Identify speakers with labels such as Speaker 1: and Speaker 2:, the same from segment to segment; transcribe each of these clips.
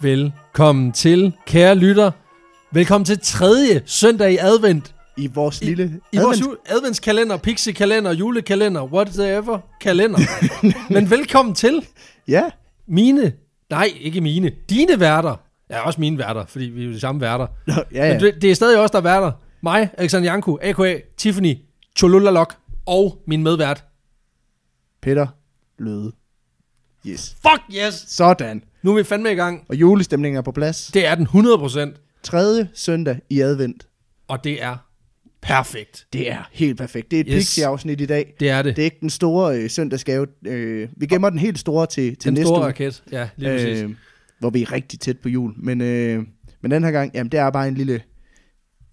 Speaker 1: Velkommen til, kære lytter. Velkommen til tredje søndag i advent.
Speaker 2: I vores
Speaker 1: I,
Speaker 2: lille
Speaker 1: I vores ju- adventskalender, pixiekalender, julekalender, whatever kalender. Men velkommen til
Speaker 2: Ja,
Speaker 1: mine, nej ikke mine, dine værter. Ja, også mine værter, fordi vi er jo de samme værter.
Speaker 2: Nå, ja,
Speaker 1: Men
Speaker 2: ja.
Speaker 1: det, det er stadig også der er værter. Mig, Alexander Janku, a.k.a. Tiffany, Cholulalok og min medvært.
Speaker 2: Peter Løde. Yes.
Speaker 1: Fuck yes!
Speaker 2: Sådan.
Speaker 1: Nu er vi fandme i gang.
Speaker 2: Og julestemningen er på plads.
Speaker 1: Det er den 100%,
Speaker 2: Tredje søndag i advent.
Speaker 1: og det er perfekt.
Speaker 2: Det er helt perfekt. Det er et
Speaker 1: Yes.
Speaker 2: yes. pixie-afsnit i dag.
Speaker 1: Det er det.
Speaker 2: Det er ikke den store øh, søndagsgave. Øh, vi gemmer den helt store til, til
Speaker 1: den
Speaker 2: næste
Speaker 1: store
Speaker 2: uge,
Speaker 1: raket. Ja, lige præcis. Øh,
Speaker 2: hvor vi er rigtig tæt på jul. Men, øh, men den her gang, jamen det er bare en lille...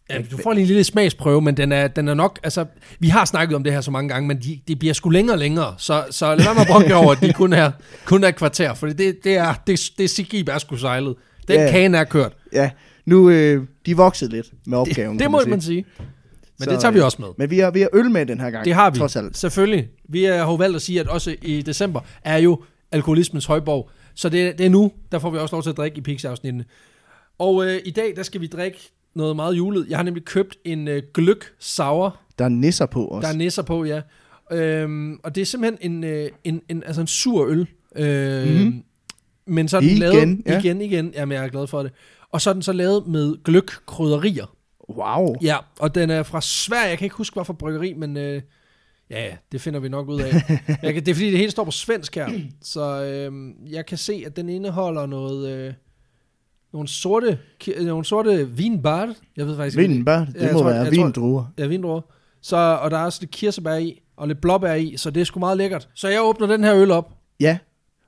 Speaker 1: ja, du får lige en lille smagsprøve, men den er, den er nok... Altså, vi har snakket om det her så mange gange, men de, det bliver sgu længere og længere. Så, så lad mig brokke over, at de kun er, kun er et kvarter, for det, det er, det, det skib er sgu sejlet. Den
Speaker 2: Ja.
Speaker 1: yeah. kagen er kørt.
Speaker 2: Ja, nu øh, de er vokset lidt med opgaven.
Speaker 1: Det, det
Speaker 2: kan
Speaker 1: må
Speaker 2: man sige.
Speaker 1: man sige. Men
Speaker 2: Så,
Speaker 1: det tager vi
Speaker 2: øh,
Speaker 1: også med.
Speaker 2: Men vi har, vi har øl med den her gang.
Speaker 1: Det har vi,
Speaker 2: Trods alt.
Speaker 1: selvfølgelig. Vi er- har jo valgt at sige, at også i december er jo alkoholismens højborg. Så det, det er nu, der får vi også lov til at drikke i Pixie-afsnittene. Og øh, i dag, der skal vi drikke noget meget julet. Jeg har nemlig købt en øh, gløk sour,
Speaker 2: Der er nisser på os.
Speaker 1: der er nisser på, ja. Øhm, og det er simpelthen en, øh, en, en, altså en sur øl. Øh, mm. Men så er den
Speaker 2: Mhm. Igen,
Speaker 1: lavet
Speaker 2: ja.
Speaker 1: igen, igen. Jamen, jeg er glad for det. Og så er den så lavet med gløk-krydderier.
Speaker 2: Wow.
Speaker 1: Ja, og den er fra Sverige. Jeg kan ikke huske, hvad for bryggeri, men øh, ja, ja, det finder vi nok ud af. jeg kan, det er fordi, det hele står på svensk her. Så øh, jeg kan se, at den indeholder noget... Øh, nogle sorte, ki- øh, nogle sorte vinbar. Jeg ved faktisk
Speaker 2: Vinen, bare.
Speaker 1: Ja,
Speaker 2: Det
Speaker 1: jeg
Speaker 2: må
Speaker 1: tror-
Speaker 2: være
Speaker 1: jeg tror-
Speaker 2: vindruer.
Speaker 1: Ja, vindruer. Så, og der er også lidt kirsebær i, og lidt blåbær i, så det er sgu meget lækkert. Så jeg åbner den her øl op.
Speaker 2: Ja.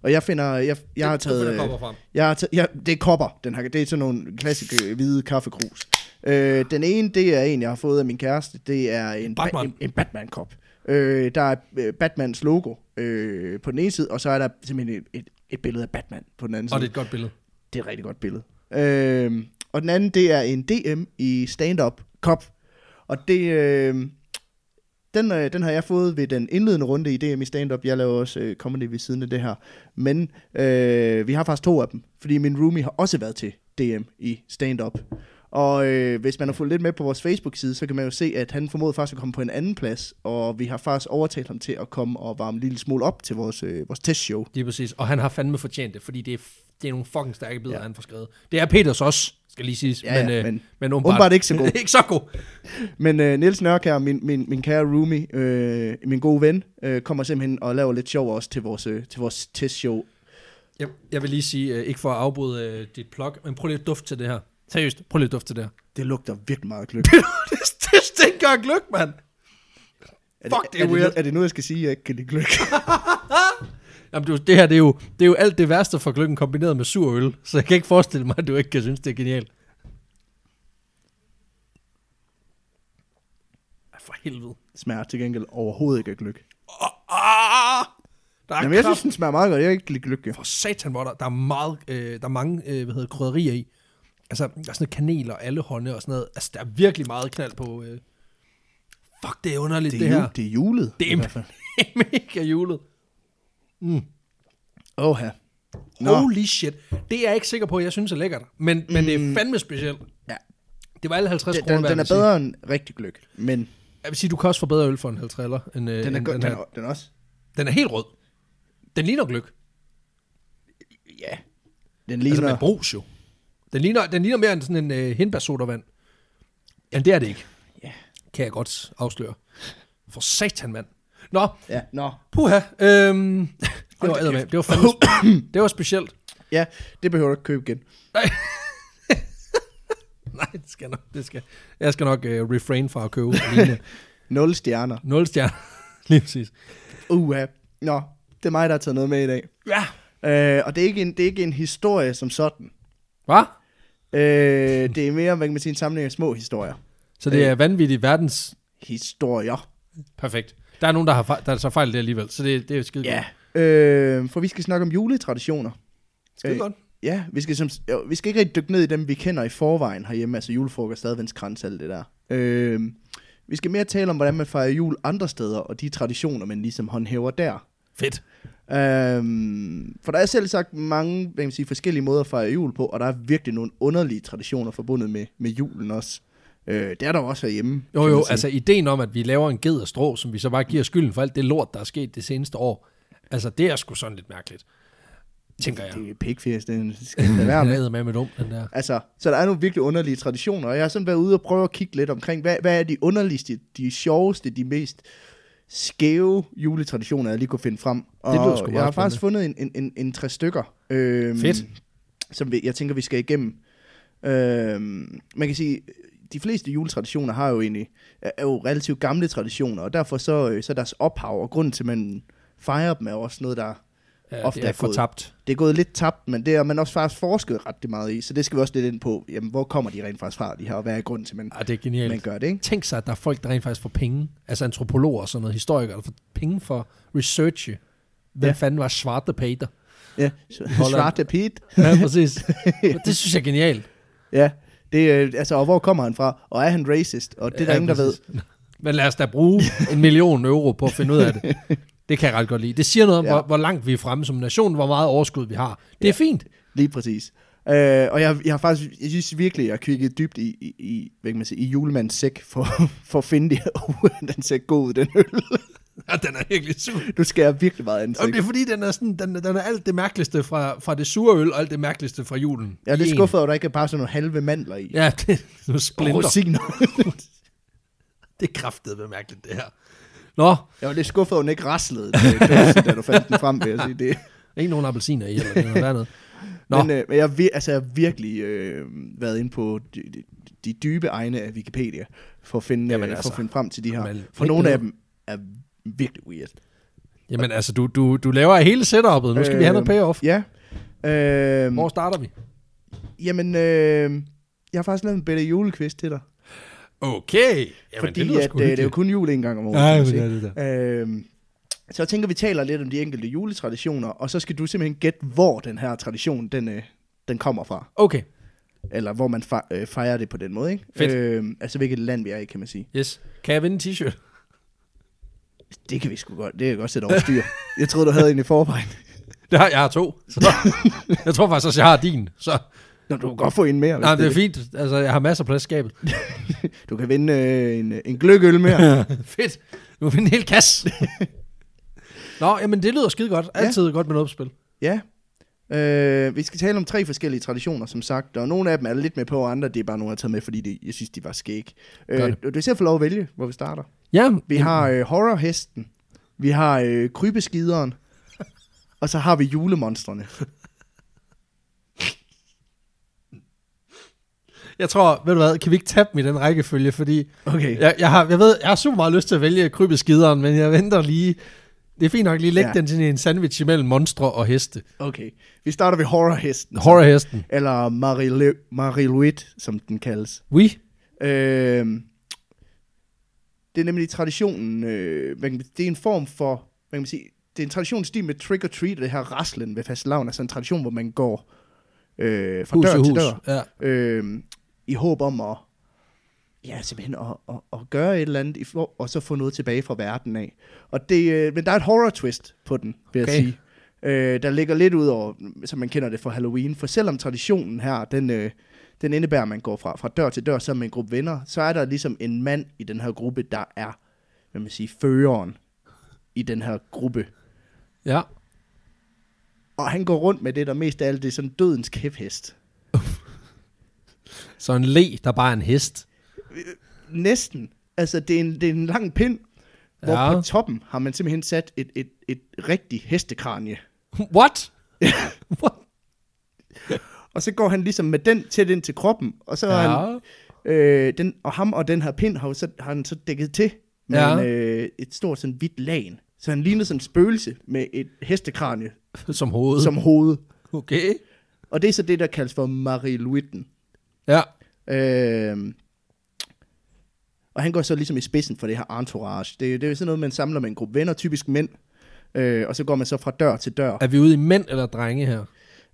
Speaker 2: Og jeg finder, jeg, jeg har
Speaker 1: Den- den
Speaker 2: taget,
Speaker 1: finder kopper
Speaker 2: øh,
Speaker 1: frem.
Speaker 2: jeg har taget, ja, det er kopper, den her, det er sådan nogle klassiske øh, hvide kaffekrus. Øh, den ene, det er en, jeg har fået af min kæreste, det er en
Speaker 1: Batman.
Speaker 2: Ba- en, en Batman-kop. Øh, der er øh, Batmans logo øh, på den ene side, og så er der simpelthen et, et, et billede af Batman på den anden side.
Speaker 1: Og det er et godt billede.
Speaker 2: Det er et rigtig godt billede. Øhm, og den anden, det er en DM i stand-up cup. Og det, øh, den, øh, den har jeg fået ved den indledende runde i DM i stand-up. Jeg laver også øh, comedy ved siden af det her. Men øh, vi har faktisk to af dem, fordi min roomie har også været til DM i stand-up. Og øh, hvis man har fulgt lidt med på vores Facebook-side, så kan man jo se, at han formåede faktisk at komme på en anden plads. Og vi har faktisk overtalt ham til at komme og varme en lille smule op til vores, øh, vores testshow.
Speaker 1: Lige præcis. Og han har fandme fortjent det, fordi det er, f- det er nogle fucking stærke billeder, ja. han får skrevet. Det er Peters også, skal lige siges.
Speaker 2: Ja, ja,
Speaker 1: men, øh,
Speaker 2: men-
Speaker 1: men åbenbart,
Speaker 2: åbenbart ikke så god.
Speaker 1: ikke så god.
Speaker 2: Men øh, Niels Nørkær, min, min, min kære roomie, øh, min gode ven, øh, kommer simpelthen og laver lidt sjov også til vores, øh, til vores testshow.
Speaker 1: Jeg, jeg vil lige sige, øh, ikke for at afbryde øh, dit plug, men prøv lige at duft til det her. Seriøst, prøv lige at duft til det her.
Speaker 2: Det lugter virkelig meget gløb.
Speaker 1: det, det stinker af gløk, mand. Fuck, det er
Speaker 2: er,
Speaker 1: weird.
Speaker 2: Det, nu- er det nu, jeg skal sige, at jeg ikke kan lide gløb?
Speaker 1: Jamen, du, det her, det er, jo, det er jo alt det værste fra gløkken kombineret med sur øl, så jeg kan ikke forestille mig, at du ikke kan synes, det er genialt. Ej, For helvede.
Speaker 2: Det smager til gengæld overhovedet ikke af gløb.
Speaker 1: Ah, der er
Speaker 2: Jamen, jeg
Speaker 1: kraft.
Speaker 2: synes, den smager meget godt. Jeg kan ikke lide gløb, jo.
Speaker 1: for satan, hvor der, der er, meget, øh, der er mange øh, hvad hedder, det, krydderier i. Altså, der er sådan noget kanel og alle hånde og sådan noget. Altså, der er virkelig meget knald på. Øh. Fuck, det er underligt,
Speaker 2: Det
Speaker 1: det,
Speaker 2: er,
Speaker 1: det her.
Speaker 2: Jul, det er julet.
Speaker 1: Det er
Speaker 2: i hvert fald.
Speaker 1: Det er mega julet.
Speaker 2: Åh, her. Nå.
Speaker 1: Holy shit. Det er jeg ikke sikker på, at jeg synes er lækkert. Men, mm. men det er fandme specielt.
Speaker 2: Ja.
Speaker 1: Det var alle 50
Speaker 2: Den,
Speaker 1: kroner
Speaker 2: den,
Speaker 1: værd,
Speaker 2: den
Speaker 1: vil
Speaker 2: er
Speaker 1: jeg sige.
Speaker 2: bedre end rigtig gløb, men
Speaker 1: Jeg vil sige, du kan også få bedre øl for en halv triller. End, øh,
Speaker 2: den er,
Speaker 1: end
Speaker 2: go-
Speaker 1: den,
Speaker 2: den,
Speaker 1: her.
Speaker 2: er, den er også...
Speaker 1: den er helt rød. Den ligner gløk.
Speaker 2: Ja. Den
Speaker 1: Altså
Speaker 2: ligner...
Speaker 1: med brus jo. Den ligner, den ligner mere end sådan en øh, hindbærsodavand. Jamen det er det ikke.
Speaker 2: Ja.
Speaker 1: Kan jeg godt afsløre. For satan, mand. Nå,
Speaker 2: ja, nå.
Speaker 1: puha. Øhm, det var
Speaker 2: da
Speaker 1: eddermame. Det var fandme Det var specielt.
Speaker 2: Ja, det behøver du ikke købe igen.
Speaker 1: Nej. Nej, det skal jeg nok. Det skal. Jeg skal nok øh, refrain fra at købe mine
Speaker 2: Nul stjerner.
Speaker 1: nul stjerner. Lige præcis.
Speaker 2: Uha. Nå, det er mig, der har taget noget med i dag.
Speaker 1: Ja.
Speaker 2: Øh, og det er, ikke en, det er ikke en historie som sådan.
Speaker 1: Hvad?
Speaker 2: Øh, det er mere, hvad kan man sige, en samling af små historier.
Speaker 1: Så det
Speaker 2: Øh.
Speaker 1: er vanvittigt verdens...
Speaker 2: Historier.
Speaker 1: Perfekt. Der er nogen, der har fejl, der er så fejl det alligevel, så det, det er jo skide
Speaker 2: Ja. Øh, for vi skal snakke om juletraditioner. Øh.
Speaker 1: Skide godt.
Speaker 2: Ja, vi skal, som, jo, vi skal ikke rigtig dykke ned i dem, vi kender i forvejen herhjemme. Altså julefrokost, adventskrans, alt det der. Øh, vi skal mere tale om, hvordan man fejrer jul andre steder, og de traditioner, man ligesom håndhæver der.
Speaker 1: Fedt.
Speaker 2: Øhm, for der er selv sagt mange hvad kan man sige, forskellige måder at fejre jul på, og der er virkelig nogle underlige traditioner forbundet med, med julen også. Øh, det er der jo også herhjemme.
Speaker 1: Jo
Speaker 2: kan man
Speaker 1: jo,
Speaker 2: sige.
Speaker 1: altså ideen om, at vi laver en ged af strå, som vi så bare giver skylden for alt det lort, der er sket det seneste år, altså det er sgu sådan lidt mærkeligt, tænker jeg.
Speaker 2: Det er pikfjæs, det skal det være med.
Speaker 1: Den er med med dum, den der.
Speaker 2: Altså, så der er nogle virkelig underlige traditioner, og jeg har sådan været ude og prøve at kigge lidt omkring, hvad, hvad er de underligste, de sjoveste, de mest skæve juletraditioner, jeg lige kunne finde frem. Og
Speaker 1: lyder sgu
Speaker 2: Jeg har
Speaker 1: meget
Speaker 2: faktisk fundet en, en, en, en tre stykker. Øhm,
Speaker 1: Fedt.
Speaker 2: Som vi, jeg tænker, vi skal igennem. Øhm, man kan sige, de fleste juletraditioner har jo egentlig, er er jo relativt gamle traditioner, og derfor så, øh, så er deres ophav, og grunden til, at man fejrer dem, er jo også noget, der
Speaker 1: Ja,
Speaker 2: Ofte
Speaker 1: det
Speaker 2: er
Speaker 1: er
Speaker 2: gået.
Speaker 1: fortabt.
Speaker 2: det er gået lidt tabt, men det har man også faktisk forsket ret meget i, så det skal vi også lidt ind på. Jamen, hvor kommer de rent faktisk fra, de her, og hvad er grunden til, at man,
Speaker 1: Ah, det er
Speaker 2: man
Speaker 1: genialt.
Speaker 2: gør det, ikke?
Speaker 1: Tænk sig, at der er folk, der rent faktisk får penge, altså antropologer og sådan noget, historikere, der får penge for researche. Hvem
Speaker 2: Ja.
Speaker 1: ja. fanden var Svarte Peter?
Speaker 2: Ja,
Speaker 1: Holland.
Speaker 2: svarte pit.
Speaker 1: Ja, præcis. det synes jeg er genialt.
Speaker 2: Ja, det, øh, altså, og hvor kommer han fra, og er han racist, og det er der
Speaker 1: Ja,
Speaker 2: ingen, der ved.
Speaker 1: præcis. Men lad os da bruge en million euro på at finde ud af det. Det kan jeg ret godt lide. Det siger noget om,
Speaker 2: Ja.
Speaker 1: ja. hvor, hvor langt vi er fremme som nation, hvor meget overskud vi har. Det er
Speaker 2: Ja.
Speaker 1: ja. fint.
Speaker 2: Lige præcis. Øh, og jeg, jeg har faktisk, jeg synes virkelig, jeg har kigget dybt i, i, i, hvad kan man sige, i julemandens sæk, for, for at finde det her, uh, den ser god ud, den øl.
Speaker 1: Ja, den er virkelig sur.
Speaker 2: Nu skal jeg virkelig meget
Speaker 1: Jamen,
Speaker 2: ansigt.
Speaker 1: det er fordi, den er, sådan, den, den er alt det mærkeligste fra, fra det sure øl, og alt det mærkeligste fra julen.
Speaker 2: Jeg er lidt
Speaker 1: I en.
Speaker 2: skuffet over, at der ikke er bare sådan nogle halve mandler i.
Speaker 1: Ja, det er nogle
Speaker 2: og
Speaker 1: splinter.
Speaker 2: rosiner.
Speaker 1: Det er kraftedeme mærkeligt, det her. Nå,
Speaker 2: Jeg var lidt skuffet, at hun ikke raslede, da- da- da du fandt den frem, vil jeg sige det.
Speaker 1: der er ikke nogen appelsiner i, eller noget andet. Nå,
Speaker 2: Men, øh, men jeg, har vir- altså, jeg har virkelig øh, været inde på de, de, de dybe egne af Wikipedia, for at finde, Jamen,
Speaker 1: Jamen,
Speaker 2: altså, for
Speaker 1: altså.
Speaker 2: at finde frem til de her.
Speaker 1: Jamen,
Speaker 2: For nogle af
Speaker 1: lidt
Speaker 2: dem er virkelig weird.
Speaker 1: jamen altså, du, du, du laver hele setup'et. Nu skal øh, vi have noget
Speaker 2: Øhm,
Speaker 1: payoff.
Speaker 2: Ja. Øh,
Speaker 1: Hvor starter vi?
Speaker 2: jamen, øh, jeg har faktisk lavet en bedre julequiz til dig.
Speaker 1: Okay. Jamen,
Speaker 2: fordi
Speaker 1: det lyder
Speaker 2: at,
Speaker 1: sgu
Speaker 2: øh, det er jo
Speaker 1: hyggeligt.
Speaker 2: kun jul en gang om året.
Speaker 1: Ja,
Speaker 2: kan man
Speaker 1: men
Speaker 2: sige.
Speaker 1: det er det der.
Speaker 2: Øhm, så jeg tænker, vi taler lidt om de enkelte juletraditioner, og så skal du simpelthen gætte, hvor den her tradition, den, øh, den kommer fra.
Speaker 1: Okay,
Speaker 2: Eller hvor man fe- øh, fejrer det på den måde, ikke?
Speaker 1: Fedt.
Speaker 2: Øhm, altså, hvilket land vi er i, kan man sige.
Speaker 1: yes. Kan jeg vinde en t-shirt?
Speaker 2: Det kan vi sgu godt. Det kan jeg godt sætte over styr. jeg troede, du havde en i forvejen.
Speaker 1: Det har, jeg har to. Så. jeg tror faktisk også, jeg har din. Så.
Speaker 2: Nå, du kan godt få en mere. hvis
Speaker 1: Nej, det er fint. Altså, jeg har masser af plads i skabet.
Speaker 2: Du kan vinde øh, en, en gløgøl mere.
Speaker 1: Fedt. Nu har vi en hel kasse. Nå, jamen det lyder skide godt. Altid ja. godt med noget opspil.
Speaker 2: ja. Øh, vi skal tale om tre forskellige traditioner, som sagt. Og nogle af dem er lidt med på, og andre det er bare nogle, jeg har taget med, fordi det, jeg synes, de var skæg.
Speaker 1: Gør
Speaker 2: Øh,
Speaker 1: det.
Speaker 2: du, du ser for lov at vælge, hvor vi starter.
Speaker 1: Ja,
Speaker 2: Vi har øh, horrorhesten. Vi har øh, krybeskideren. Og så har vi julemonstrene.
Speaker 1: jeg tror, ved du hvad, kan vi ikke tage dem i den rækkefølge, fordi
Speaker 2: Okay.
Speaker 1: jeg, jeg, har, jeg ved, jeg har super meget lyst til at vælge krybeskideren, men jeg venter lige. Det er fint nok lige at lægge
Speaker 2: Ja.
Speaker 1: ja. den til en sandwich imellem monstre og heste.
Speaker 2: Okay. Vi starter ved horrorhesten.
Speaker 1: Horrorhesten.
Speaker 2: eller Marie, Le- Marie Louise, som den kaldes.
Speaker 1: We?
Speaker 2: Øh, det er nemlig traditionen, øh, man kan, det er en form for, hvad kan man sige, det er en traditionsstil med trick or treat, og det her raslen ved fastlavn, altså en tradition, hvor man går øh, fra
Speaker 1: Hus
Speaker 2: dør
Speaker 1: i
Speaker 2: til
Speaker 1: hus.
Speaker 2: dør,
Speaker 1: Ja.
Speaker 2: øh, i håb om at, ja, simpelthen at, at, at gøre et eller andet, i for, og så få noget tilbage fra verden af. Og det, øh, men der er et horror twist på den, vil okay.
Speaker 1: Okay.
Speaker 2: jeg sige. Øh, der ligger lidt ud over, som man kender det fra Halloween, for selvom traditionen her, den, øh, den indebærer, at man går fra, fra dør til dør sammen med en gruppe venner, så er der ligesom en mand i den her gruppe, der er, hvad man siger, føreren i den her gruppe.
Speaker 1: ja.
Speaker 2: Og han går rundt med det, der mest af alt det er sådan dødens kæphest.
Speaker 1: Så en le, der bare er en hest.
Speaker 2: Næsten. Altså, det er en, det er en lang pind, hvor
Speaker 1: Ja.
Speaker 2: på toppen har man simpelthen sat et, et, et rigtig hestekranje.
Speaker 1: What? What?
Speaker 2: Og så går han ligesom med den tæt ind til kroppen, og så ja. han,
Speaker 1: Ja.
Speaker 2: øh, den, og ham og den her pind har, jo så, har han så dækket til med
Speaker 1: Ja.
Speaker 2: en, øh, et stort sådan hvidt lagen. Så han ligner sådan en spøgelse med et hestekranje
Speaker 1: Som hoved.
Speaker 2: som hoved.
Speaker 1: Okay.
Speaker 2: Og det er så det, der kaldes for Marie Louisen.
Speaker 1: Ja.
Speaker 2: Øh, og han går så ligesom i spidsen for det her entourage. Det, det er jo sådan noget, man samler med en gruppe venner, typisk mænd. Øh, og så går man så fra dør til dør.
Speaker 1: Er vi ude i mænd eller drenge her?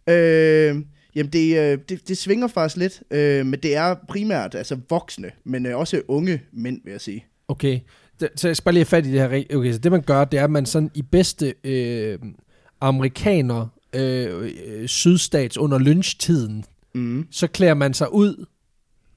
Speaker 2: Øh, jamen, det, øh, det, det svinger faktisk lidt, øh, men det er primært altså voksne, men øh, også unge mænd, vil jeg sige.
Speaker 1: Okay. Det- Så jeg skal bare lige have fat i det her. re- Okay, så det man gør, det er, at man sådan i bedste øh, amerikaner øh, øh, sydstats under lynchtiden,
Speaker 2: Mm.
Speaker 1: så klæder man sig ud,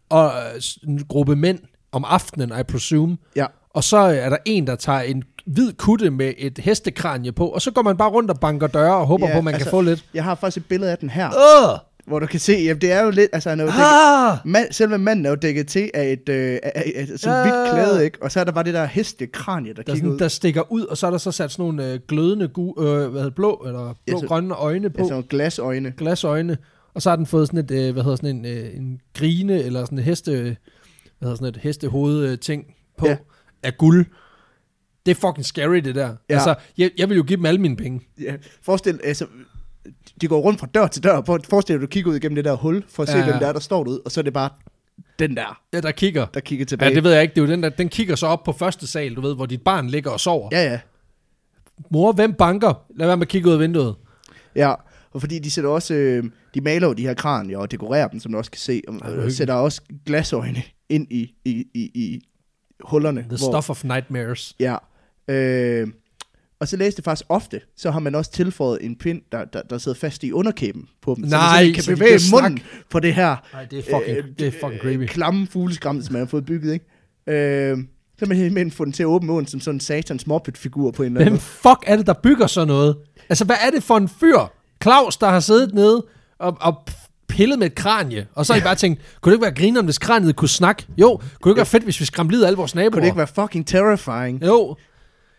Speaker 1: og øh, s- en gruppe mænd om aftenen, I presume,
Speaker 2: Ja.
Speaker 1: og så er der en, der tager en hvid kutte med et hestekranje på, og så går man bare rundt og banker døre og håber
Speaker 2: Ja,
Speaker 1: på, at man
Speaker 2: altså-
Speaker 1: kan få lidt.
Speaker 2: Jeg har faktisk et billede af den her,
Speaker 1: Åh!
Speaker 2: hvor du kan se, jamen det er jo lidt, altså han er jo dækket,
Speaker 1: Ah!
Speaker 2: mand, selve manden er jo dækket til af et, øh, af, af, af, sådan
Speaker 1: Ja.
Speaker 2: hvidt klæde, ikke? Og så er der bare det der hestekranje, der,
Speaker 1: Der,
Speaker 2: der
Speaker 1: er
Speaker 2: kigger
Speaker 1: sådan,
Speaker 2: ud.
Speaker 1: der stikker ud, og så er der så sat sådan nogle øh, glødende gu, øh, hvad hedder, det, blå eller
Speaker 2: Ja, så-
Speaker 1: blå-grønne øjne på,
Speaker 2: Ja, Altså, sådan nogle glasøjne.
Speaker 1: glasøjne, og så har den fået sådan et, øh, hvad hedder sådan en, øh, en grine, eller sådan et heste, hvad hedder sådan et hestehoved øh, ting på,
Speaker 2: Ja.
Speaker 1: ja. af guld. Det er fucking scary, det der.
Speaker 2: Ja.
Speaker 1: Ja. Altså, jeg, jeg vil jo give dem alle mine penge.
Speaker 2: Ja, forestil, altså, de går rundt fra dør til dør. For- Forestil dig, du kigger ud igennem det der hul, for at se,
Speaker 1: Ja, ja.
Speaker 2: hvem der er, der står derude. Og så er det bare den der,
Speaker 1: Ja, der kigger.
Speaker 2: der kigger tilbage.
Speaker 1: Ja, det ved jeg ikke. Det er jo den, der, den kigger så op på første sal, du ved, hvor dit barn ligger og sover. Ja.
Speaker 2: ja, ja.
Speaker 1: Mor, hvem banker? Lad være med at kigge ud af vinduet.
Speaker 2: Ja, og fordi de sætter også, øh, de maler jo de her kranier og dekorerer dem, som du også kan se, og
Speaker 1: er
Speaker 2: øh,
Speaker 1: hyggeligt.
Speaker 2: sætter også glasøjne ind i, i, i, i hullerne.
Speaker 1: The stuff of nightmares.
Speaker 2: Ja, øh, og så læste det faktisk ofte, så har man også tilføjet en pind, der, der, der sidder fast i underkæben på dem, så
Speaker 1: Nej,
Speaker 2: man simpelthen
Speaker 1: så
Speaker 2: kan
Speaker 1: de
Speaker 2: bevæge
Speaker 1: kan
Speaker 2: munden på det her
Speaker 1: Nej, det er fucking, øh, det er fucking creepy.
Speaker 2: øh, klamme fugleskram, som man har fået bygget, ikke? Øh, så har man simpelthen få den til at åbne munden som sådan en satans moppet-figur på en eller anden
Speaker 1: Hvem fuck er det, der bygger sådan noget? Altså, hvad er det for en fyr? Claus, der har siddet nede og, og pillet med et kranje, og så har I bare tænkt, kunne det ikke være grineren, hvis kraniet kunne snakke? Jo, kunne det ikke være fedt, hvis vi skræmte livet af alle vores naboer?
Speaker 2: Kunne det ikke være fucking terrifying?
Speaker 1: Jo.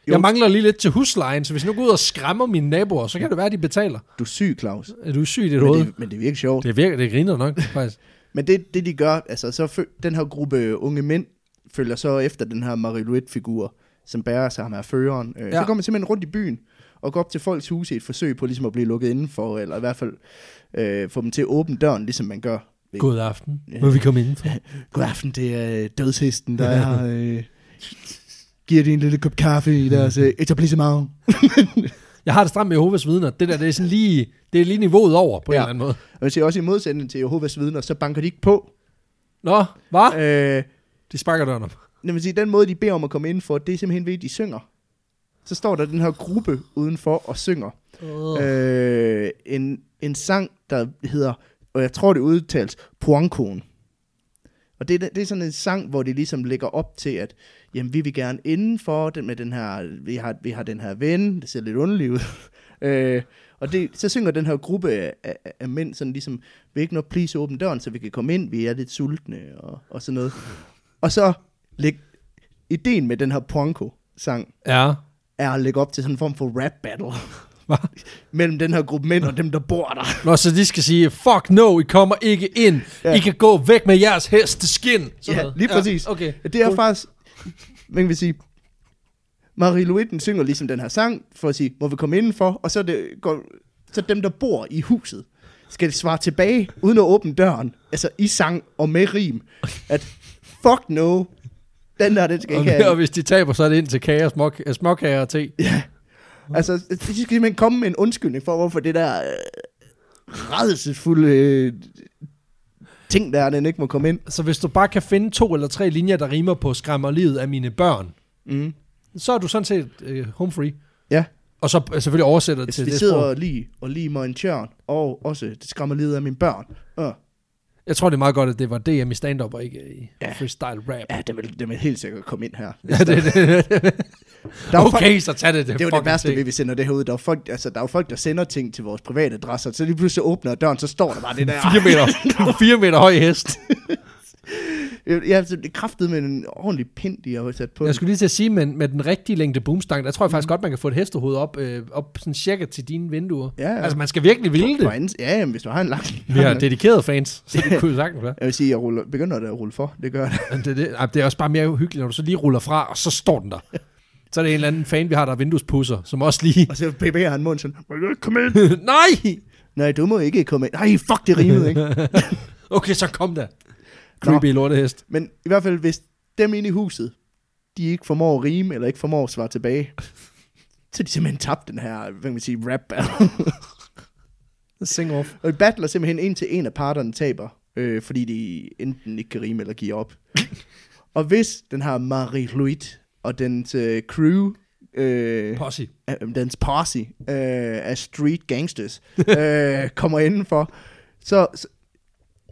Speaker 2: Jo.
Speaker 1: Jeg mangler lige lidt til huslejen, så hvis jeg nu går ud og skræmmer mine naboer, så kan det være, at de betaler.
Speaker 2: Du er syg, Claus.
Speaker 1: Er du syg i dit
Speaker 2: Men
Speaker 1: hoved?
Speaker 2: det, men det virker sjovt.
Speaker 1: Det virker, det griner nok, faktisk.
Speaker 2: Men det, det de gør, altså så fø- den her gruppe unge mænd følger så efter den her Marie-Louise-figur, som bærer sig ham af føreren. Øh, ja. Så
Speaker 1: Ja.
Speaker 2: går man simpelthen rundt i byen og går op til folks huse i et forsøg på ligesom at blive lukket indenfor, eller i hvert fald øh, få dem til at åbne døren, ligesom man gør. ved-
Speaker 1: God aften. Må vi komme ind?
Speaker 2: God aften, det er øh, dødshesten, der er her. Øh, giver de en lille kop kaffe i deres øh, etablissement.
Speaker 1: Jeg har det stramt med Jehovas vidner. Det der, det er sådan lige, det er lige niveauet over, på ja.
Speaker 2: Ja.
Speaker 1: en eller anden måde.
Speaker 2: Og man ser også i modsætning til Jehovas vidner, så banker de ikke på.
Speaker 1: Nå, hvad?
Speaker 2: Øh,
Speaker 1: De sparker døren op.
Speaker 2: Når man siger, den måde, de beder om at komme ind for, det er simpelthen ved, at de synger. Så står der den her gruppe udenfor og synger. Oh. Øh, en, en sang, der hedder, og jeg tror, det udtales, Poankon. Og det, er- det er sådan en sang, hvor de ligesom lægger op til, at jamen, vi vil gerne indenfor den med den her, vi har, vi har den her ven, det ser lidt underligt ud. øh, og det, så synger den her gruppe af, af, af mænd sådan ligesom, vil ikke nå please åbne døren, så vi kan komme ind, vi er lidt sultne og, og sådan noget. Og så læg, ideen med den her Ponko-sang
Speaker 1: Ja.
Speaker 2: er at lægge op til sådan en form for rap battle
Speaker 1: Hva?
Speaker 2: mellem den her gruppe mænd og dem, der bor der.
Speaker 1: Nå, så de skal sige, fuck no, I kommer ikke ind.
Speaker 2: Ja.
Speaker 1: Ja. I kan gå væk med jeres hesteskin. Sådan
Speaker 2: Ja,
Speaker 1: noget.
Speaker 2: lige præcis.
Speaker 1: Ja, okay.
Speaker 2: Det er faktisk, man kan sige, Marie Louise den synger ligesom den her sang, for at sige, må vi komme indenfor, og så, er det, går, så dem, der bor i huset, skal det svare tilbage, uden at åbne døren, altså i sang og med rim, at fuck no, den der, den skal ikke
Speaker 1: Og, og
Speaker 2: have.
Speaker 1: hvis de taber, så er det ind til kager, små, øh, småkager og te.
Speaker 2: Altså, de skal simpelthen komme med en undskyldning for, hvorfor det der øh, redselsfulde øh, ting, der er, den ikke må komme ind.
Speaker 1: Så hvis du bare kan finde to eller tre linjer, der rimer på skræmmer livet af mine børn,
Speaker 2: Mm.
Speaker 1: så er du sådan set øh, home free.
Speaker 2: Ja.
Speaker 1: Og så øh, selvfølgelig oversætter
Speaker 2: Jeg
Speaker 1: til det
Speaker 2: Altså, sidder
Speaker 1: sprog.
Speaker 2: og lige, og lige mig en tjørn, og også, det skræmmer livet af mine børn. Uh.
Speaker 1: Jeg tror, det er meget godt, at det var DM i stand-up, og ikke øh, i
Speaker 2: Ja.
Speaker 1: ja. freestyle rap.
Speaker 2: Ja, det vil, det vil helt sikkert komme ind her.
Speaker 1: Ja, det, det,
Speaker 2: Der er jo folk,
Speaker 1: okay, så tag det. Det,
Speaker 2: det er jo det
Speaker 1: fucking
Speaker 2: værste
Speaker 1: ting.
Speaker 2: ved, at vi sender det her ud. Der er, jo folk, altså, der er jo folk, der sender ting til vores private adresser, så lige pludselig åbner døren, så står der bare det der.
Speaker 1: Fire meter, fire meter høj hest.
Speaker 2: Ja, altså, det er kraftet med en ordentlig pind, de har sat på. Mm.
Speaker 1: Jeg skulle lige til at sige, men med den rigtige længde boomstang, der tror jeg faktisk godt, man kan få et hestehoved op, øh, op sådan cirka til dine vinduer.
Speaker 2: Ja, ja.
Speaker 1: Altså, man skal virkelig ville det.
Speaker 2: det. Ja, jamen, hvis du har en lang...
Speaker 1: Vi har dedikerede fans, så det kunne jo sagtens være.
Speaker 2: Jeg vil sige, jeg ruller, begynder da at rulle for. Det gør jeg.
Speaker 1: Men Det, det, ej, det er også bare mere hyggeligt, når du så lige ruller fra, og så står den der. Så er det en eller anden fan, vi har, der er vinduespusser, som også lige...
Speaker 2: Og så bevæger han munden sådan, må jeg ikke komme ind?
Speaker 1: Nej!
Speaker 2: Nej, du må ikke komme ind. Nej, fuck, det rimede, ikke?
Speaker 1: Okay, så kom der. Creepy lortehest.
Speaker 2: Men i hvert fald, hvis dem inde i huset, de ikke formår at rime, eller ikke formår at svare tilbage, så er de simpelthen tabt den her, hvad kan man sige, rap battle.
Speaker 1: Sing off.
Speaker 2: og i battler simpelthen indtil en af parterne taber, øh, fordi de enten ikke kan rime eller giver op. og hvis den her Marie-Louise og dens øh, crew øh,
Speaker 1: Posse.
Speaker 2: øh, dens posse øh, af street gangsters øh, kommer indenfor, så, så,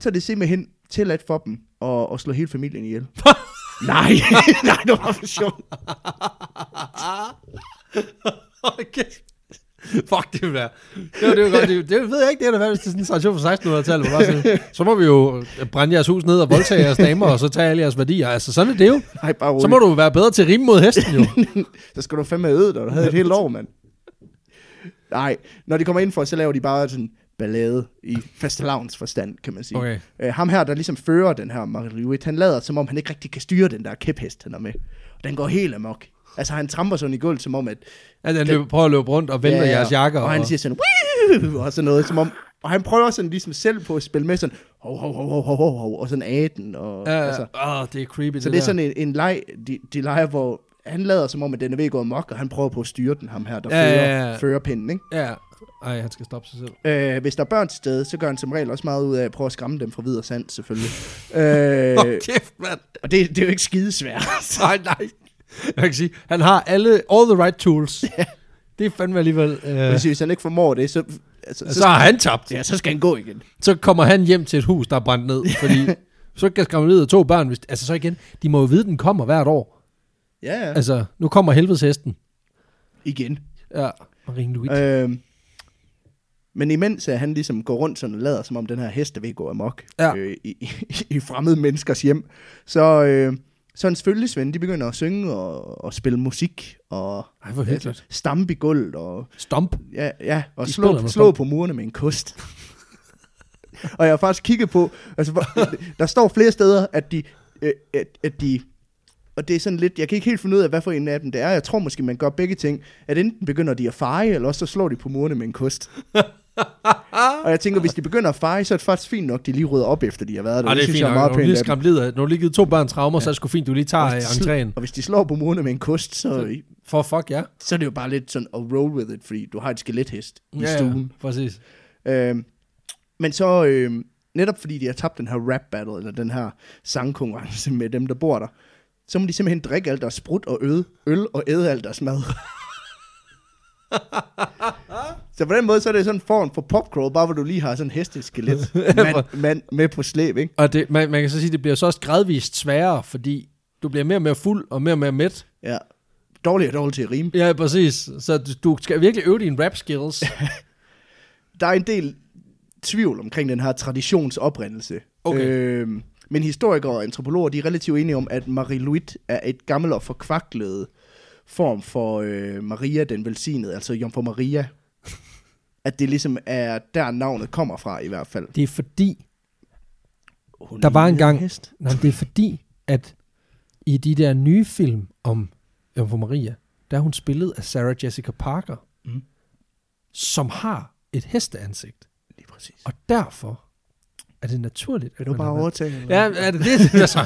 Speaker 2: så er det simpelthen tilladt for dem at, at slå hele familien ihjel. nej, nej, det var for sjovt.
Speaker 1: Okay. Fuck, det vil være. Det var, det var godt. Det, det ved jeg ikke, det er da været, hvis det er sådan en tradition fra 1600-tallet. hvor bare sådan, Så må vi jo øh, brænde jeres hus ned og voldtage jeres damer, og så tage alle jeres værdier. Altså, sådan er det jo.
Speaker 2: Nej, bare roligt.
Speaker 1: Så må du være bedre til at rime mod hesten, jo.
Speaker 2: Så skal du fandme have øvet dig, du havde et helt år, mand. Nej, når de kommer indenfor, så laver de bare sådan ballade i fastelavns forstand, kan man sige.
Speaker 1: Okay.
Speaker 2: Øh, ham her, der ligesom fører den her Marguerite, han lader, som om han ikke rigtig kan styre den der kæphest, han er med. Og den går helt amok. Altså, han tramper sådan i gulvet, som om, at...
Speaker 1: At han løber, prøver at løbe rundt og vælter ja, jeres jakker.
Speaker 2: Og, og han siger sådan... "Wii!" Og sådan noget, som om... Og han prøver sådan ligesom selv på at spille med sådan... Hov, hov, hov, hov, hov, hov, hov, og sådan aden, og...
Speaker 1: ja, altså, åh, det er creepy, det,
Speaker 2: Så det er
Speaker 1: der.
Speaker 2: sådan en, en leg, de, de leger, hvor han lader som om, at den er ved at gå amok, og han prøver på at styre den, ham her, der
Speaker 1: Ja,
Speaker 2: ja, fører,
Speaker 1: ja,
Speaker 2: ja,
Speaker 1: ja.
Speaker 2: ja. fører pinden. Ikke?
Speaker 1: Ja, ej, han skal stoppe sig selv.
Speaker 2: Øh, hvis der er børn til stede, så gør han som regel også meget ud af at prøve at skræmme dem fra videre sand, selvfølgelig. øh,
Speaker 1: kæft, mand.
Speaker 2: og det, det er jo ikke skidesvært.
Speaker 1: Nej, nej. Jeg kan sige, han har alle, all the right tools. Det er fandme alligevel... Øh,
Speaker 2: Hvis, hvis han ikke formår det, så, altså, så,
Speaker 1: så
Speaker 2: så,
Speaker 1: har han tabt.
Speaker 2: ja, så skal han gå igen.
Speaker 1: så kommer han hjem til et hus, der er brændt ned, fordi så kan skræmme ned af to børn. Hvis, altså så igen, de må jo vide, den kommer hvert år.
Speaker 2: Ja, ja. Altså,
Speaker 1: Altså, nu kommer helvedeshesten.
Speaker 2: igen.
Speaker 1: Ja, Marine Louis. Øh,
Speaker 2: Øh, men imens at han ligesom går rundt sådan og lader, som om den her hest er ved at gå amok
Speaker 1: Ja.
Speaker 2: øh, i, i, i fremmede menneskers hjem, så, øh, så hans følgesvende, de begynder at synge og, og spille musik og
Speaker 1: Ej, hvor hyggeligt.
Speaker 2: stampe i gulvet og,
Speaker 1: Stomp.
Speaker 2: ja, ja, og
Speaker 1: De
Speaker 2: slå,
Speaker 1: spiller med
Speaker 2: slå
Speaker 1: stomp.
Speaker 2: på murene med en kost. og jeg har faktisk kigget på, altså, hvor- der står flere steder, at de, øh, at, at de og det er sådan lidt, jeg kan ikke helt finde ud af, hvad for en af dem det er. Jeg tror måske, man gør begge ting. At enten begynder de at feje, eller også så slår de på murene med en kost. og jeg tænker, hvis de begynder at feje, så er det faktisk fint nok, de lige rydder op efter, de har været der.
Speaker 1: Ej, det er
Speaker 2: synes
Speaker 1: fint,
Speaker 2: jeg
Speaker 1: nok.
Speaker 2: meget
Speaker 1: når du
Speaker 2: pænt
Speaker 1: lige
Speaker 2: af dem.
Speaker 1: skræmt lider, når du lige givet to børn traumer, ja. så er det sgu fint, du lige tager øh, entréen.
Speaker 2: Og hvis de slår på murene med en kost, så,
Speaker 1: For fuck, ja.
Speaker 2: så er det jo bare lidt sådan at roll with it, fordi du har et skelethest i
Speaker 1: ja,
Speaker 2: stuen.
Speaker 1: Ja, præcis.
Speaker 2: Øhm, men så øhm, netop fordi de har tabt den her rap battle, eller den her sangkonkurrence med dem, der bor der, så må de simpelthen drikke alt deres sprut og øde, øl og æde alt deres mad. så på den måde, så er det sådan en form for popcrawl, bare hvor du lige har sådan en hesteskelet mand, mand med på slæb, ikke?
Speaker 1: Og det, man, man kan så sige, det bliver så også gradvist sværere, fordi du bliver mere og mere fuld og mere og mere mæt.
Speaker 2: Ja. Dårlig og dårlig til at rime.
Speaker 1: Ja, præcis. Så du, du skal virkelig øve dine rap skills.
Speaker 2: der er en del tvivl omkring den her traditionsoprindelse.
Speaker 1: Okay.
Speaker 2: Øhm, men historikere og antropologer, de er relativt enige om, at Marie-Louise er et gammelt og forkvaklet form for øh, Maria den velsignede, altså Jomfru Maria. At det ligesom er der navnet kommer fra i hvert fald.
Speaker 1: Det er fordi,
Speaker 2: Hun
Speaker 1: Der var
Speaker 2: en
Speaker 1: engang-
Speaker 2: hest.
Speaker 1: Nej, men det er fordi, at i de der nye film om Jomfru Maria, der er hun spillet af Sarah Jessica Parker,
Speaker 2: Mm.
Speaker 1: som har et hesteansigt.
Speaker 2: Lige præcis.
Speaker 1: Og derfor er det naturligt, at
Speaker 2: Vil du
Speaker 1: man
Speaker 2: bare
Speaker 1: har været-
Speaker 2: overtage? eller?
Speaker 1: Ja, er det det, det er så?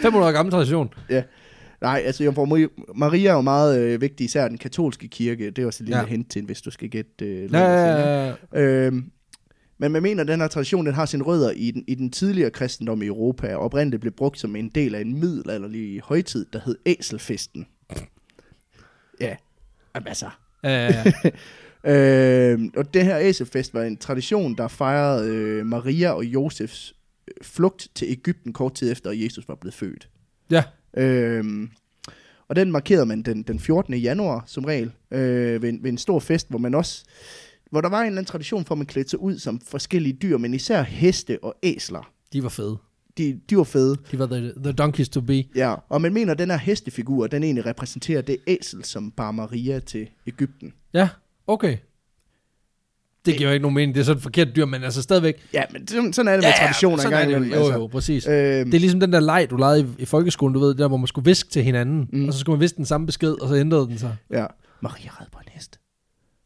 Speaker 1: 500 år gammel tradition.
Speaker 2: Nej, altså Jomfru Maria- Maria er jo meget øh, vigtig, især den katolske kirke. Det er også et lille
Speaker 1: Ja.
Speaker 2: ja. hint til, hvis du skal gætte øh, lidt
Speaker 1: Ja,
Speaker 2: senere.
Speaker 1: ja, ja.
Speaker 2: Øhm, men man mener, at den her tradition den har sine rødder i den, i den tidligere kristendom i Europa, og oprindeligt blev brugt som en del af en middelalderlig højtid, der hed æselfesten. Ja, Jamen, altså.
Speaker 1: ja, ja.
Speaker 2: Øhm, og det her æselfest var en tradition, der fejrede øh, Maria og Josefs øh, flugt til Ægypten kort tid efter, at Jesus var blevet født.
Speaker 1: ja.
Speaker 2: Øhm, og den markerede man den, den 14. januar som regel øh, ved, en, ved en stor fest, hvor man også hvor der var en eller anden tradition for, at man klædte sig ud som forskellige dyr, men især heste og æsler.
Speaker 1: De var fede.
Speaker 2: De, de var fede.
Speaker 1: De var the, the donkeys to be.
Speaker 2: Ja, og man mener, at den her hestefigur, den egentlig repræsenterer det æsel, som bar Maria til Ægypten.
Speaker 1: Ja, okay. Det giver jo ikke nogen mening. Det er sådan et forkert dyr, men altså stadigvæk.
Speaker 2: Ja, men sådan sådan er det med
Speaker 1: Ja, ja,
Speaker 2: traditioner
Speaker 1: sådan er
Speaker 2: engang.
Speaker 1: det jo.
Speaker 2: imellem,
Speaker 1: Jo, jo, præcis.
Speaker 2: Øhm,
Speaker 1: Det er ligesom den der leg, du legede i, i folkeskolen, du ved, der hvor man skulle viske til hinanden, mm.
Speaker 2: Mm.
Speaker 1: og så skulle man viske den samme besked, og så ændrede den sig.
Speaker 2: Ja. Maria red på en hest.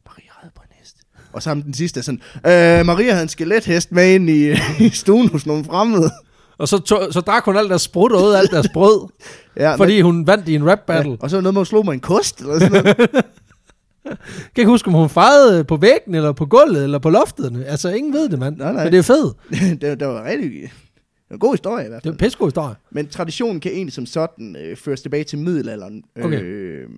Speaker 2: Maria red på en hest. Og sammen den sidste er sådan, øh, Maria havde en skelethest med ind i, i stuen hos nogle fremmede.
Speaker 1: Og så, tog, så drak hun alt deres sprut og åd alt deres brød,
Speaker 2: Ja,
Speaker 1: fordi hun vandt i en rap battle. Ja.
Speaker 2: Ja, og så var noget med, at hun slog mig en kost, eller sådan noget.
Speaker 1: Jeg kan ikke huske, om hun fejede på væggen, eller på gulvet, eller på loftet. Altså, ingen ved det, mand.
Speaker 2: Nej, nej.
Speaker 1: Men det er fedt.
Speaker 2: det, det var rigtig... Det er en god historie i hvert
Speaker 1: Det er
Speaker 2: fald.
Speaker 1: en pissegod historie.
Speaker 2: Men traditionen kan egentlig som sådan øh, føres tilbage til middelalderen.
Speaker 1: Okay.
Speaker 2: Øh,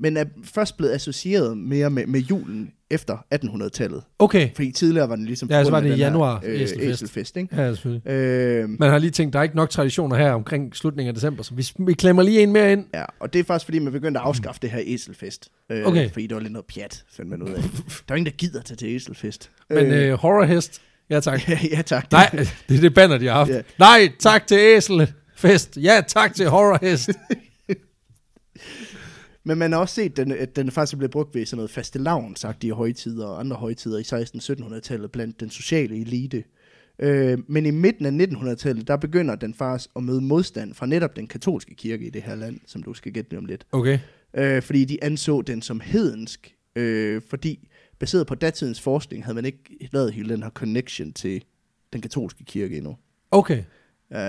Speaker 2: men er først blevet associeret mere med, med julen efter 1800-tallet.
Speaker 1: Okay.
Speaker 2: Fordi tidligere var den ligesom...
Speaker 1: Ja, så var det
Speaker 2: forbundet
Speaker 1: i
Speaker 2: med den her,
Speaker 1: januar,
Speaker 2: Øh,
Speaker 1: æselfest.
Speaker 2: æselfest, ikke?
Speaker 1: Ja, selvfølgelig.
Speaker 2: Øh,
Speaker 1: Man har lige tænkt, der er ikke nok traditioner her omkring slutningen af december, så vi, vi klemmer lige en mere ind.
Speaker 2: ja, og det er faktisk fordi, man begyndte at afskaffe det her æselfest. Øh,
Speaker 1: Okay.
Speaker 2: Fordi det var lidt noget pjat, fandt man ud af. Der er ingen, der gider tage til æselfest.
Speaker 1: Men øh, horrorhest, ja tak.
Speaker 2: ja, tak.
Speaker 1: Nej, det er det banner, de har haft.
Speaker 2: Ja.
Speaker 1: Nej, tak til æselfest. Ja, tak til horrorhest.
Speaker 2: Men man har også set, den, at den faktisk er blevet brugt ved sådan noget fastelavn, sagt i højtider og andre højtider i 16-1700-tallet blandt den sociale elite. Øh, men i midten af 1900-tallet, der begynder den faktisk at møde modstand fra netop den katolske kirke i det her land, som du skal gætte lige om lidt.
Speaker 1: Okay.
Speaker 2: Øh, fordi de anså den som hedensk, øh, fordi baseret på datidens forskning havde man ikke lavet hele den her connection til den katolske kirke endnu.
Speaker 1: Okay.
Speaker 2: Øh,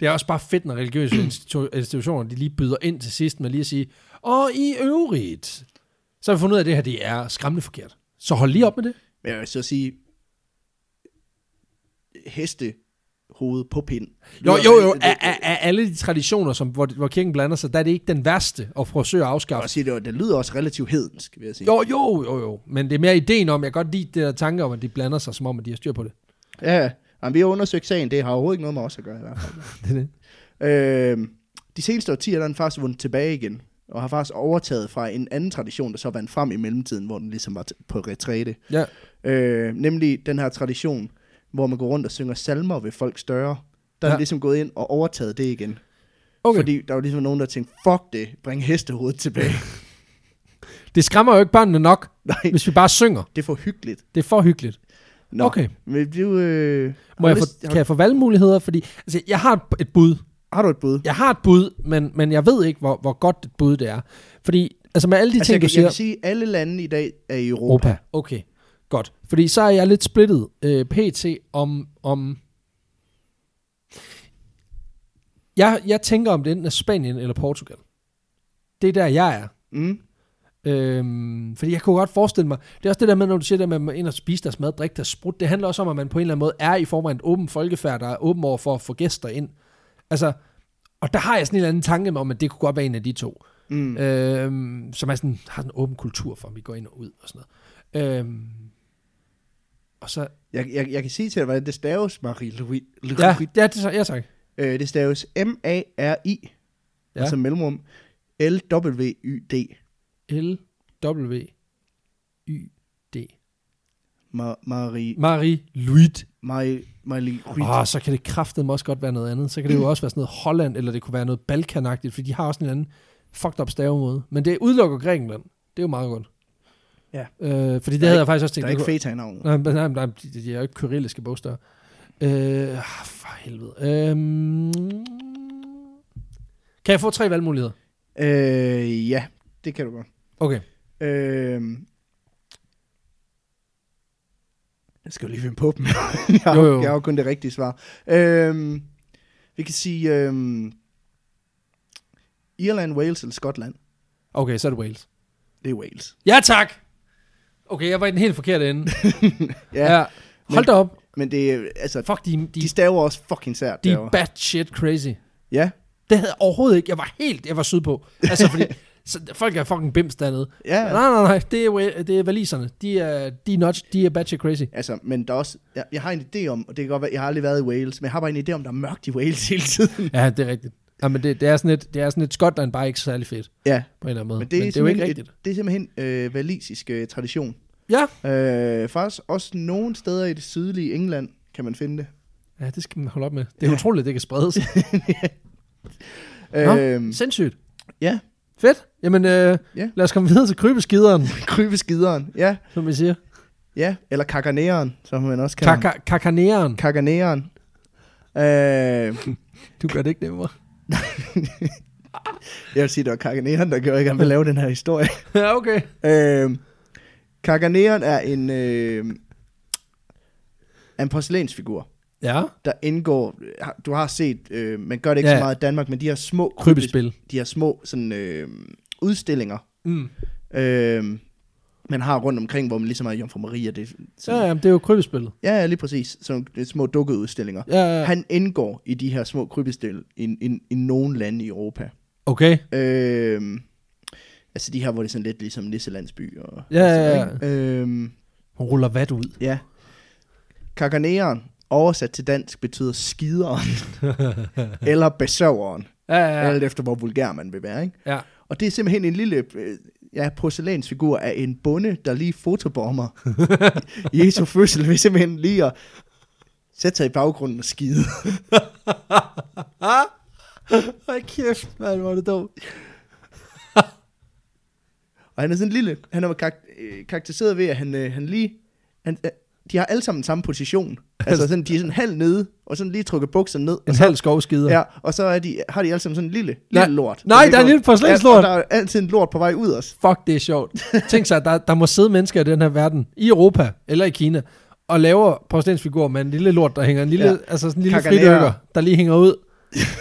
Speaker 1: Det er også bare fedt, når religiøse institu- institutioner de lige byder ind til sidst med lige at sige, og i øvrigt, så har vi fundet ud af, at det her det er skræmmende forkert. Så hold lige op med det.
Speaker 2: men jeg vil så sige, heste hoved på pind.
Speaker 1: Jo, jo, jo. Af, af, af alle de traditioner, som, hvor, hvor kirken blander sig, der er det ikke den værste at forsøge at
Speaker 2: Jeg vil
Speaker 1: afskaffe.
Speaker 2: også sige, det, var, det lyder også relativt hedensk, vil jeg sige.
Speaker 1: Jo, jo, jo, jo. Men det er mere ideen om, jeg kan godt lide det der tanke om, at de blander sig, som om, at de har styr på det.
Speaker 2: Ja, jamen, vi har undersøgt sagen, det har overhovedet ikke noget med os at gøre i hvert fald.
Speaker 1: Det er det.
Speaker 2: øhm, de seneste årtier, der er den faktisk vundet tilbage igen, og har faktisk overtaget fra en anden tradition, der så vandt frem i mellemtiden, hvor den ligesom var t- på retræte.
Speaker 1: Ja.
Speaker 2: Øh, nemlig den her tradition, hvor man går rundt og synger salmer ved folks døre. Der ja.
Speaker 1: Ja.
Speaker 2: er ligesom gået ind og overtaget det igen.
Speaker 1: Okay. Fordi...
Speaker 2: Fordi der var ligesom nogen, der tænkte, fuck det, bring hestehovedet tilbage.
Speaker 1: Det skræmmer jo ikke børnene nok,
Speaker 2: Nej,
Speaker 1: hvis vi bare synger.
Speaker 2: det er for hyggeligt.
Speaker 1: Det er for hyggeligt.
Speaker 2: Nå,
Speaker 1: Okay.
Speaker 2: Men du, øh,
Speaker 1: Må
Speaker 2: har,
Speaker 1: jeg
Speaker 2: du
Speaker 1: få,
Speaker 2: lyst-
Speaker 1: kan
Speaker 2: har,
Speaker 1: jeg få valgmuligheder? Fordi altså, jeg har et- et bud.
Speaker 2: har du et bud?
Speaker 1: Jeg har et bud, men, men jeg ved ikke, hvor, hvor godt et bud det er. Fordi altså, med alle de altså,
Speaker 2: jeg,
Speaker 1: ting,
Speaker 2: kan,
Speaker 1: du
Speaker 2: jeg kan
Speaker 1: siger...
Speaker 2: sige, at alle lande i dag er i Europa.
Speaker 1: Europa. Okay, godt. Fordi så er jeg lidt splittet øh, pt. om... om jeg, jeg tænker om det enten er Spanien eller Portugal. Det er der, jeg er.
Speaker 2: Mm.
Speaker 1: Øhm, fordi jeg kunne godt forestille mig, det er også det der med, når du siger det med, at man er inde og spise deres mad, drikke deres sprut, det handler også om, at man på en eller anden måde er i form af en åben folkefærd, der er åben over for at få gæster ind. Altså, og der har jeg sådan en eller anden tanke om, at det kunne godt være en af de to,
Speaker 2: Mm.
Speaker 1: øhm, som er sådan, har sådan en åben kultur for, at vi går ind og ud og sådan noget. Øhm, og så,
Speaker 2: Jeg, jeg, jeg kan sige til dig, hvordan det staves, Marie-Louis.
Speaker 1: ja, ja, det, så- ja tak.
Speaker 2: Øh, det staves M-A-R-I,
Speaker 1: Ja.
Speaker 2: ja. altså mellemrum, L-W-Y-D.
Speaker 1: L, W, Y, D.
Speaker 2: Ma- Marie,
Speaker 1: Marie Louis
Speaker 2: Marie, Marie, Marie
Speaker 1: Åh, oh, så kan det kraftedeme også godt være noget andet. Så kan det jo også være sådan noget Holland, eller det kunne være noget Balkanagtigt, fordi de har også en anden fucked up stavemåde. Men det udelukker Grækenland. Det er jo meget godt.
Speaker 2: Ja.
Speaker 1: Øh, fordi det
Speaker 2: Der er
Speaker 1: havde jeg faktisk også
Speaker 2: Der
Speaker 1: tænkt.
Speaker 2: er
Speaker 1: det
Speaker 2: ikke
Speaker 1: kunne-
Speaker 2: feta i navnet.
Speaker 1: Nej, men- nej, nej, de, de er jo ikke kyrilliske bogstaver. Øh, ah, for helvede. Øh, kan jeg få tre valgmuligheder?
Speaker 2: Øh, ja, det kan du godt.
Speaker 1: Okay.
Speaker 2: Øh, jeg skal jo lige finde på dem. jeg, har,
Speaker 1: Jo, jo.
Speaker 2: jeg har jo kun det rigtige svar. Øh, vi kan sige øh, Irland, Wales eller Skotland.
Speaker 1: Okay, så er det Wales.
Speaker 2: Det er Wales.
Speaker 1: Ja, tak! Okay, jeg var i den helt forkerte ende.
Speaker 2: Ja, ja.
Speaker 1: Hold da op.
Speaker 2: men det er, altså,
Speaker 1: Fuck, de, de,
Speaker 2: de staver også fucking sært
Speaker 1: de
Speaker 2: derovre.
Speaker 1: er batshit crazy.
Speaker 2: Ja,
Speaker 1: Det havde jeg overhovedet ikke. Jeg var helt, jeg var sydpå. Altså, fordi så, folk er fucking bims dernede.
Speaker 2: ja.
Speaker 1: Ja. Nej, nej, nej. Det er, wa- det er valiserne. De er, de er nuts. De er batshit crazy.
Speaker 2: Altså, men der er også, jeg, jeg har en idé om, og det kan godt være, jeg har aldrig været i Wales, men jeg har bare en idé om, der er mørkt i Wales hele tiden.
Speaker 1: Ja, det er rigtigt. Ja, men det, det, er sådan et, det er sådan et Skotland bare ikke særlig fedt,
Speaker 2: ja,
Speaker 1: på en eller anden måde.
Speaker 2: men det er,
Speaker 1: men det er jo ikke
Speaker 2: simpelthen
Speaker 1: rigtigt.
Speaker 2: Et, det er simpelthen øh, valisisk øh, tradition.
Speaker 1: Ja.
Speaker 2: Øh, faktisk også nogle steder i det sydlige England kan man finde det.
Speaker 1: ja, det skal man holde op med. Det er ja.
Speaker 2: Ja.
Speaker 1: utroligt, det kan spredes. Nå,
Speaker 2: Øh,
Speaker 1: Sindssygt.
Speaker 2: ja,
Speaker 1: Fedt. Jamen, øh,
Speaker 2: Ja.
Speaker 1: lad os komme videre til krybeskideren,
Speaker 2: krybeskideren, ja,
Speaker 1: som vi siger.
Speaker 2: ja, eller kakaneren, som man også kalder
Speaker 1: Kaka- Kakaneren.
Speaker 2: Kakaneren. Øh,
Speaker 1: Du gør det ikke nemmere.
Speaker 2: jeg vil sige, det var kakaneren, der gjorde, at jeg gerne ville lave den her historie.
Speaker 1: ja, okay.
Speaker 2: Øh, kakaneren er en, øh, er en porcelænsfigur.
Speaker 1: Ja.
Speaker 2: der indgår, du har set, øh, man gør det ikke
Speaker 1: Ja.
Speaker 2: ja. så meget i Danmark, men de her små
Speaker 1: Krybespil.
Speaker 2: de her små sådan, øh, udstillinger,
Speaker 1: Mm.
Speaker 2: øh, man har rundt omkring, hvor man ligesom har Jomfru Maria. Det,
Speaker 1: Ja,
Speaker 2: sådan,
Speaker 1: ja, men det er jo krybbespillet.
Speaker 2: ja, ja, lige præcis. Sådan nogle små dukkeudstillinger.
Speaker 1: Ja, ja.
Speaker 2: Han indgår i de her små krybestil i, i, i nogle lande i Europa.
Speaker 1: Okay.
Speaker 2: Øhm, altså de her, hvor det er sådan lidt ligesom Nisselandsby. Og,
Speaker 1: Ja,
Speaker 2: og sådan,
Speaker 1: ja, ja.
Speaker 2: ikke? Øhm,
Speaker 1: Hun ruller vat ud.
Speaker 2: ja. Kakaneren, oversat til dansk, betyder skideren. eller besøgeren.
Speaker 1: Ja,
Speaker 2: Ja.
Speaker 1: ja,
Speaker 2: Alt efter, hvor vulgær man vil være. Ikke?
Speaker 1: ja.
Speaker 2: Og det er simpelthen en lille øh, ja, porcelænsfigur af en bonde, der lige fotobomber Jesu fødsel ved simpelthen lige at sætte sig i baggrunden og skide.
Speaker 1: Ah! Hold kæft, mand, hvor er det dumt.
Speaker 2: Og han er sådan en lille, han er kar- øh, karakteriseret ved, at han, øh, han lige, han, øh, de har alle sammen samme position. Altså sådan, de er sådan halv nede, og sådan lige trukket bukserne ned.
Speaker 1: En halv skovskider.
Speaker 2: Ja, og så er de, har de alle sammen sådan en lille,
Speaker 1: Nej.
Speaker 2: lille lort.
Speaker 1: Nej, der er en lille porcelænslort.
Speaker 2: Ja, og der er altid en lort på vej ud også.
Speaker 1: Fuck, det er sjovt. Tænk sig, der, der må sidde mennesker i den her verden, i Europa eller i Kina, og laver porcelænsfigurer med en lille lort, der hænger en lille, ja.
Speaker 2: Ja.
Speaker 1: altså sådan en lille
Speaker 2: Kakanerer.
Speaker 1: fridykker, der lige hænger ud.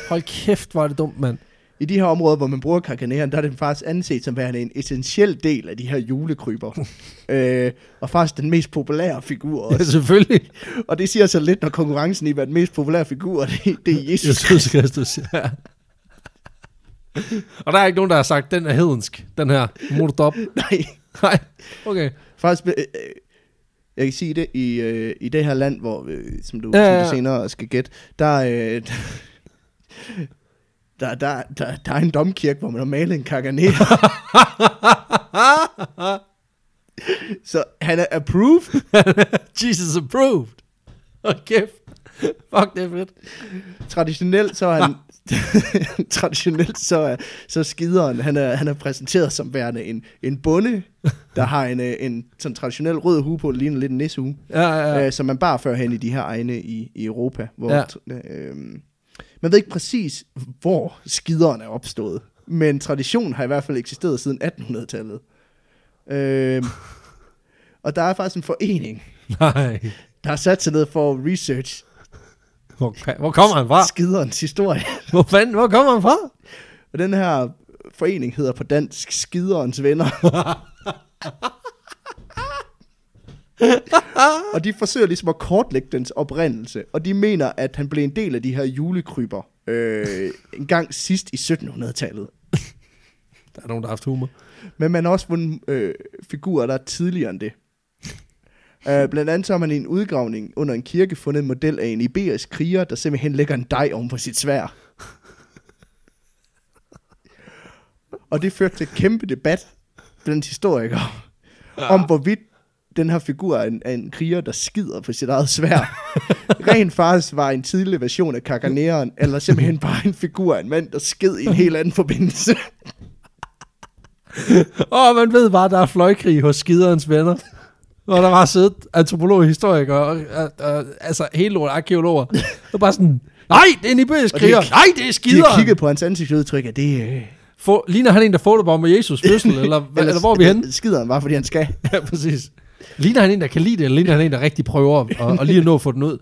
Speaker 1: Hold kæft, hvor er det dumt, mand.
Speaker 2: I de her områder, hvor man bruger karkaneren, der er den faktisk anset som værende en essentiel del af de her julekryber. øh, og faktisk den mest populære figur
Speaker 1: Ja,
Speaker 2: også.
Speaker 1: selvfølgelig.
Speaker 2: Og det siger så lidt, når konkurrencen i, hvad den mest populære figur, det, det er Jesus.
Speaker 1: Jesus Kristus. Ja. Og der er ikke nogen, der har sagt, den er hedensk, den her. Må du op.
Speaker 2: Nej,
Speaker 1: Nej. Okay.
Speaker 2: faktisk... Øh, øh, jeg kan sige det, i, øh, i det her land, hvor, øh, som, du,
Speaker 1: Ja,
Speaker 2: ja, ja.
Speaker 1: ja,
Speaker 2: som
Speaker 1: ja.
Speaker 2: du senere skal gætte, der, øh, der, der, der, der er en domkirke, hvor man har malet en karkaner. så han er approved.
Speaker 1: Jesus approved. Hold kæft. Fuck, det er fedt.
Speaker 2: traditionelt så er han traditionelt så er så er skideren han er han er præsenteret som værende en en bonde der har en øh, en sådan traditionel rød hue på det ligner lidt en nissehue
Speaker 1: Ja, ja,
Speaker 2: ja.
Speaker 1: ja.
Speaker 2: øh, som man bare førhen i de her egne i, i Europa hvor
Speaker 1: Ja.
Speaker 2: ja. øh, man ved ikke præcis hvor skideren er opstået men traditionen har i hvert fald eksisteret siden 1800-tallet øh, og der er faktisk en forening
Speaker 1: Nej.
Speaker 2: der har sat sig ned for at research
Speaker 1: Hvor, hvor kommer han
Speaker 2: Ah.
Speaker 1: fra?
Speaker 2: skiderens historie
Speaker 1: Hvor fanden, hvor kommer han fra?
Speaker 2: Og den her forening hedder på dansk Skiderens Venner. og de forsøger ligesom at kortlægge dens oprindelse, og de mener, at han blev en del af de her julekryber øh, en gang sidst i 1700-tallet.
Speaker 1: Der er nogen, der har haft humor.
Speaker 2: Men man har også fundet øh, figurer, der er tidligere end det. Øh, blandt andet så har man i en udgravning under en kirke fundet en model af en iberisk kriger, der simpelthen lægger en dej oven på sit svær. Og det førte til en kæmpe debat blandt historikere, ja. om hvorvidt den her figur er en, er en kriger, der skider på sit eget svær. Rent faktisk var en tidlig version af kakaneren, eller simpelthen bare en figur af en mand, der sked i en helt anden forbindelse.
Speaker 1: Åh, man ved bare, der er fløjkrig hos skiderens venner. Hvor der var siddet antropologer, historikere, og, og, og, altså hele lort arkeologer. Det var bare sådan, nej, det er en iberisk
Speaker 2: Og de
Speaker 1: kriger.
Speaker 2: har-
Speaker 1: Nej, det er
Speaker 2: De har
Speaker 1: skideren.
Speaker 2: kigget på hans ansigtsudtryk, at det... Øh,
Speaker 1: For, ligner han en, der fotobomber Jesus fødsel, eller, hva- eller hvor er vi henne?
Speaker 2: Skideren bare, fordi han skal.
Speaker 1: Ja, præcis. Ligner han en, der kan lide det, eller ligner han en, der rigtig prøver at, og, og lige at nå at få den ud?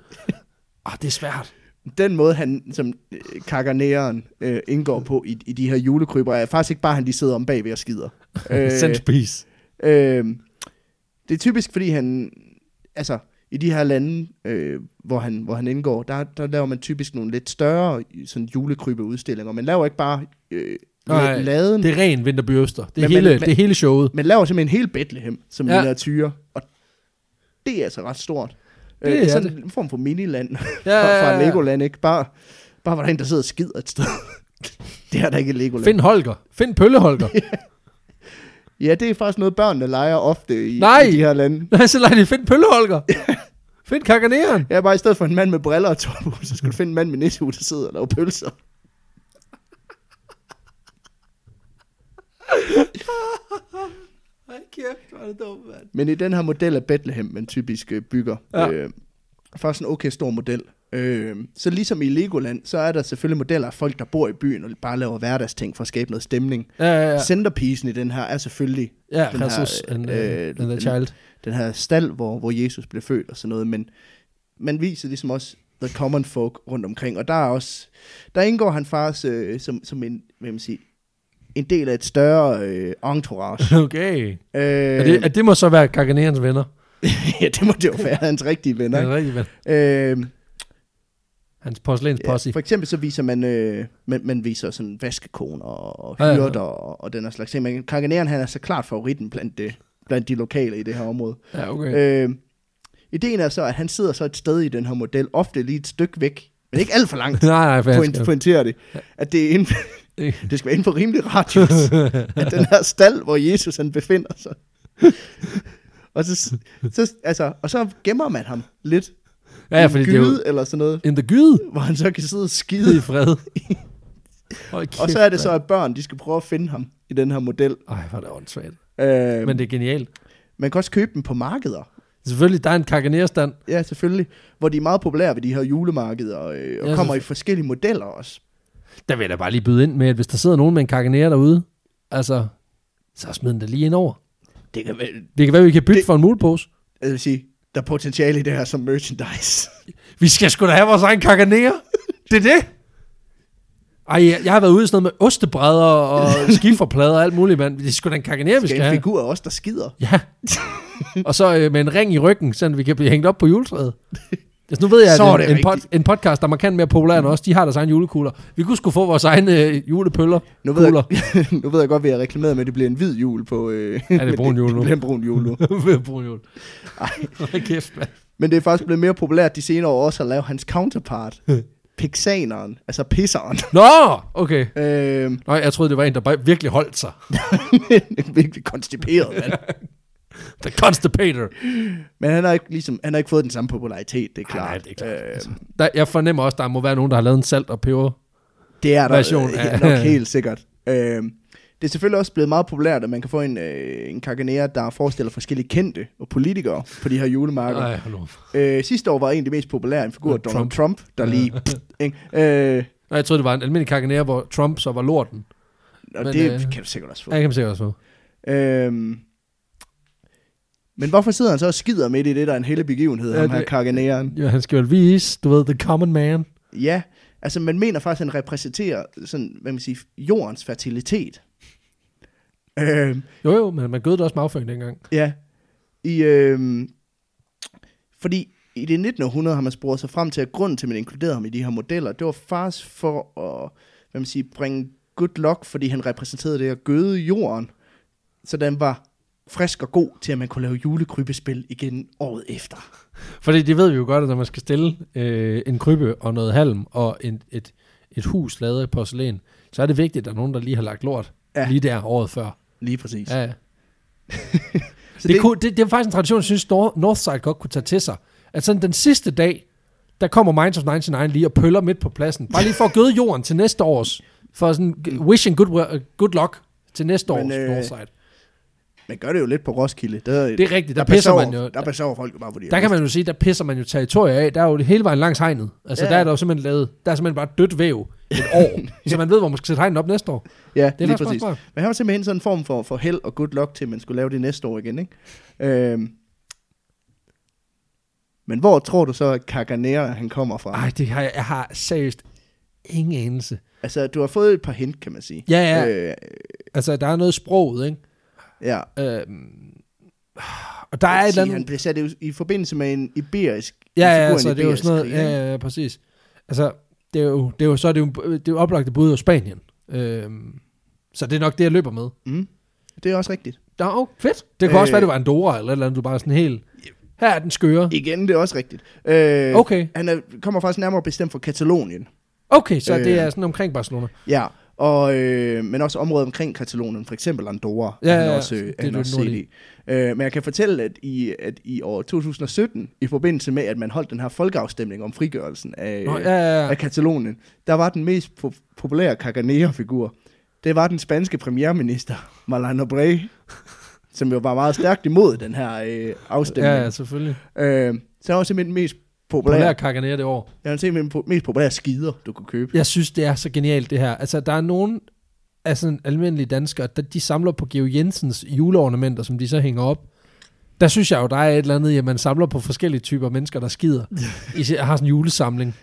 Speaker 1: Ah, det er svært.
Speaker 2: Den måde, han som øh, kakkaneren øh, indgår på i, i de her julekryber, er faktisk ikke bare, at han lige sidder om bagved og skider.
Speaker 1: Øh. Centerpiece.
Speaker 2: øh, det er typisk, fordi han... Altså, i de her lande, øh, hvor, han, hvor han indgår, der, der laver man typisk nogle lidt større sådan julekrybereudstillinger. Man laver ikke bare øh,
Speaker 1: Nej,
Speaker 2: laden.
Speaker 1: Det er ren Vinterby Øster. Det er,
Speaker 2: Men- men-
Speaker 1: hele,
Speaker 2: men-
Speaker 1: det er hele showet.
Speaker 2: Man laver simpelthen hele Bethlehem som
Speaker 1: Ja.
Speaker 2: ja. miniatyrer, og det er altså ret stort.
Speaker 1: Det
Speaker 2: Øh,
Speaker 1: er
Speaker 2: sådan en form for miniland
Speaker 1: Ja, ja, ja,
Speaker 2: fra,
Speaker 1: ja.
Speaker 2: fra Legoland, ikke? Bare, bare var der en, der sidder og skider et sted. det er der ikke i Legoland.
Speaker 1: Find Holger. Find Pølle Holger.
Speaker 2: Ja, det er faktisk noget, børnene leger ofte i,
Speaker 1: Nej!
Speaker 2: i de her lande.
Speaker 1: Nej, så lader de finde Pølle Holger. Find kakaneren.
Speaker 2: Ja, bare i stedet for en mand med briller og top, så skal du finde en mand med nissehue, der sidder og laver pølser.
Speaker 1: Ej, kæft, hvor er det dumt, mand.
Speaker 2: Men i den her model af Bethlehem, man typisk øh, bygger,
Speaker 1: Ja.
Speaker 2: ja. øh, faktisk en okay stor model. Øh, så ligesom i Legoland, så er der selvfølgelig modeller af folk, der bor i byen og bare laver hverdagsting for at skabe noget stemning.
Speaker 1: Ja, ja, ja.
Speaker 2: Ja. Centerpiecen i den her er selvfølgelig
Speaker 1: Ja,
Speaker 2: den
Speaker 1: Jesus
Speaker 2: her,
Speaker 1: and,
Speaker 2: øh,
Speaker 1: uh, and the
Speaker 2: den-
Speaker 1: child.
Speaker 2: den her stald, hvor, hvor Jesus blev født og sådan noget, men man viser ligesom også the common folk rundt omkring, og der er også, der indgår han faktisk øh, som, som en, hvad man siger, en del af et større øh, entourage.
Speaker 1: Okay.
Speaker 2: Øh,
Speaker 1: Og det, at det må så være Kaganerens venner.
Speaker 2: ja, det må det jo være hans rigtige venner.
Speaker 1: Hans
Speaker 2: ikke?
Speaker 1: rigtige venner.
Speaker 2: Øh,
Speaker 1: Hans porcelæns
Speaker 2: ja,
Speaker 1: posse.
Speaker 2: for eksempel så viser man, øh, man, man viser sådan vaskekoner og
Speaker 1: Ja, ja, ja.
Speaker 2: hyrder ja, ja. og, og den her slags ting. Men Kaganean, han er så klart favoritten blandt, det, blandt de lokale i det her område.
Speaker 1: Ja, okay.
Speaker 2: Øh, ideen er så, at han sidder så et sted i den her model, ofte lige et stykke væk, men ikke alt for langt,
Speaker 1: Nej, nej, for
Speaker 2: point, pointerer det, at det, er inden,
Speaker 1: Det-
Speaker 2: det skal være inden for rimelig radius af den her stald, hvor Jesus han befinder sig. og, så, så, altså, og så gemmer man ham lidt
Speaker 1: Ja, ja, fordi det er jo...
Speaker 2: gyde eller sådan noget,
Speaker 1: In the gyde.
Speaker 2: hvor han så kan sidde
Speaker 1: Gide
Speaker 2: og skide.
Speaker 1: i fred. Hold
Speaker 2: Og
Speaker 1: kæft,
Speaker 2: så er det så,
Speaker 1: mand.
Speaker 2: at børn de skal prøve at finde ham i den her model.
Speaker 1: Ej, hvor er det åndssvagt.
Speaker 2: Øh,
Speaker 1: Men
Speaker 2: Men
Speaker 1: det er genialt.
Speaker 2: Man kan også købe dem på markeder.
Speaker 1: Selvfølgelig, der er en kaganerstand.
Speaker 2: Ja, selvfølgelig. Hvor de er meget populære ved de her julemarkeder, øh, og
Speaker 1: Ja,
Speaker 2: ja, kommer i forskellige modeller også.
Speaker 1: Der vil jeg da bare lige byde ind med, at hvis der sidder nogen med en kaganer derude, altså, så smid den da lige ind over.
Speaker 2: Det kan vel...
Speaker 1: Det kan være, vi kan bytte
Speaker 2: Det-
Speaker 1: for en mulepose.
Speaker 2: Jeg vil sige, der er potentiale i det her som merchandise.
Speaker 1: Vi skal sgu da have vores egen kakaner. Det er det. Ej, jeg, jeg har været ude i sådan noget med ostebrædder og skiferplader og alt muligt, mand. Det er sgu da en kakaner, vi
Speaker 2: Skal
Speaker 1: skal
Speaker 2: en
Speaker 1: have.
Speaker 2: figur også, der skider.
Speaker 1: Ja. og så øh, med en ring i ryggen, så vi kan blive hængt op på juletræet. Altså, nu ved jeg,
Speaker 2: Så er
Speaker 1: at
Speaker 2: det
Speaker 1: en, en, pod,
Speaker 2: rigtigt.
Speaker 1: en podcast, der er markant mere populær end os, de har deres egen julekugler. Vi kunne sgu få vores egne øh, julepøller.
Speaker 2: Nu ved,
Speaker 1: Kugler.
Speaker 2: jeg, nu ved jeg godt, at vi har reklameret med, at det bliver en hvid jul på... Øh,
Speaker 1: er
Speaker 2: men
Speaker 1: brun jul nu.
Speaker 2: Det bliver en brun jul nu.
Speaker 1: Ved brun jul. Ej, kæft, mand.
Speaker 2: Men det er faktisk blevet mere populært de senere år også at lave hans counterpart. Pixaneren, altså pisseren.
Speaker 1: Nå, okay.
Speaker 2: Øh,
Speaker 1: Nå, jeg troede, det var en, der bare virkelig holdt sig.
Speaker 2: virkelig konstiperet, mand.
Speaker 1: The Constipator.
Speaker 2: Men han har, ikke, ligesom, han har ikke fået den samme popularitet, det er klart.
Speaker 1: Nej, nej, det er klart.
Speaker 2: Øh,
Speaker 1: Altså, der, jeg fornemmer også, der må være nogen, der har lavet en salt og peber.
Speaker 2: det er der
Speaker 1: version
Speaker 2: version,
Speaker 1: af-
Speaker 2: øh, nok helt sikkert. Øh, det er selvfølgelig også blevet meget populært, at man kan få en, øh, en kaganea, der forestiller forskellige kendte og politikere på de her julemarkeder.
Speaker 1: Ej, hold nu. op.
Speaker 2: Øh, sidste år var en af de mest populære en figur,
Speaker 1: Ja,
Speaker 2: Donald Trump, Trump der lige... Pst, ikke? Øh,
Speaker 1: Nå, jeg troede, det var en almindelig kakanære, hvor Trump så var lorten. Men,
Speaker 2: og Men, det
Speaker 1: øh,
Speaker 2: øh, kan du sikkert også få.
Speaker 1: Ja, det kan man sikkert også få.
Speaker 2: Øhm, men hvorfor sidder han så og skider midt i det, der er en hele begivenhed,
Speaker 1: Ja,
Speaker 2: ja, ham her
Speaker 1: det-
Speaker 2: kakaneeren?
Speaker 1: Ja, han skal vel vise, du ved, the common man.
Speaker 2: Ja, altså man mener faktisk, at han repræsenterer sådan, hvad man siger, jordens fertilitet. Øhm,
Speaker 1: Jo, jo, men man gødte også med afføring dengang.
Speaker 2: ja, i, øhm, fordi i det 19. århundrede har man sporet sig frem til, at grunden til, at man inkluderede ham i de her modeller, det var faktisk for at, hvad man siger, bringe good luck, fordi han repræsenterede det at gøde jorden, så den var frisk og god til, at man kunne lave julekrybespil igen året efter.
Speaker 1: Fordi det ved vi jo godt, at når man skal stille øh, en krybbe og noget halm og en, et, et hus lavet af porcelæn, så er det vigtigt, at der er nogen, der lige har lagt lort ja.
Speaker 2: Ja.
Speaker 1: lige der året før.
Speaker 2: Lige præcis.
Speaker 1: Ja, ja.
Speaker 2: så
Speaker 1: Det, det, kunne, det, det er faktisk en tradition, jeg synes, Nor- Northside godt kunne tage til sig. At sådan den sidste dag, der kommer Minds of 99 lige og pøller midt på pladsen. Bare lige for at gøde jorden til næste års. For sådan g- wishing good, we- good luck til næste
Speaker 2: Men,
Speaker 1: års
Speaker 2: øh,
Speaker 1: Northside.
Speaker 2: Man gør det jo lidt på Roskilde. Der,
Speaker 1: Det er rigtigt, der
Speaker 2: der
Speaker 1: pisser
Speaker 2: besover-
Speaker 1: man jo-
Speaker 2: Der besover folk jo bare, fordi
Speaker 1: Der kan man jo sige, der pisser man jo territorier af. Der er jo hele vejen langs hegnet. Altså
Speaker 2: Ja.
Speaker 1: der er der jo simpelthen lavet, der er simpelthen bare dødt væv et år. så man ved, hvor man skal sætte hegnet op næste år.
Speaker 2: Ja,
Speaker 1: Det er
Speaker 2: lige
Speaker 1: faktisk
Speaker 2: præcis.
Speaker 1: meget smart.
Speaker 2: Men han var simpelthen sådan en form for, for held og good luck til, at man skulle lave det næste år igen, ikke? Øhm. Men hvor tror du så, at Kaganera, han kommer fra? Ej.
Speaker 1: Ej, det har jeg, jeg har seriøst ingen anelse.
Speaker 2: Altså, du har fået et par hint, kan man sige.
Speaker 1: Ja, ja.
Speaker 2: Øh,
Speaker 1: Altså, der er noget sproget, ikke?
Speaker 2: ja.
Speaker 1: Øhm, og der er et eller andet...
Speaker 2: Han blev sat i, i forbindelse med en iberisk...
Speaker 1: Ja,
Speaker 2: en
Speaker 1: ja,
Speaker 2: figur i
Speaker 1: altså,
Speaker 2: en
Speaker 1: det er jo
Speaker 2: iberisk
Speaker 1: sådan noget,
Speaker 2: krig,
Speaker 1: ja,
Speaker 2: ikke?
Speaker 1: ja, ja, præcis. Altså, det er jo, det er jo så er det jo, det er jo oplagte bud af Spanien. Øhm, så det er nok det, jeg løber med.
Speaker 2: Mm. Det er også rigtigt.
Speaker 1: Nå, oh, fedt. Det kunne øh, også
Speaker 2: Øh.
Speaker 1: være, det var Andorra eller et eller andet, du bare sådan helt, her er den skøre.
Speaker 2: Igen, det er også rigtigt. Øh,
Speaker 1: Okay,
Speaker 2: Han er, kommer faktisk nærmere bestemt fra Katalonien.
Speaker 1: okay, så øh, det
Speaker 2: Øh.
Speaker 1: er sådan omkring Barcelona.
Speaker 2: Ja, og, øh, men også området omkring Katalonien, for eksempel Andorra,
Speaker 1: Ja,
Speaker 2: ja,
Speaker 1: ja,
Speaker 2: han
Speaker 1: ja,
Speaker 2: også,
Speaker 1: det
Speaker 2: øh,
Speaker 1: er
Speaker 2: han
Speaker 1: det
Speaker 2: også set
Speaker 1: nordlige.
Speaker 2: i. Øh, men jeg kan fortælle, at i, at i år 2017, i forbindelse med, at man holdt den her folkeafstemning om frigørelsen af,
Speaker 1: Nå, ja, ja, ja.
Speaker 2: af Katalonien, der var den mest po- populære Caganera-figur, det var den spanske premierminister, Malano Brey, som jo var meget stærkt imod den her øh, afstemning.
Speaker 1: Ja,
Speaker 2: Ja,
Speaker 1: ja, selvfølgelig.
Speaker 2: ja. Øh, så er også simpelthen den mest populære,
Speaker 1: Populær
Speaker 2: populær.
Speaker 1: kakaner det år.
Speaker 2: Jeg vil simpelthen den po- mest populære skider, du kunne købe.
Speaker 1: Jeg synes, det er så genialt, det her. Altså, der er nogen af sådan almindelige danskere, der de samler på Geo Jensens juleornamenter, som de så hænger op. Der synes jeg jo, der er et eller andet, i, at man samler på forskellige typer mennesker, der skider. I se- har sådan en julesamling.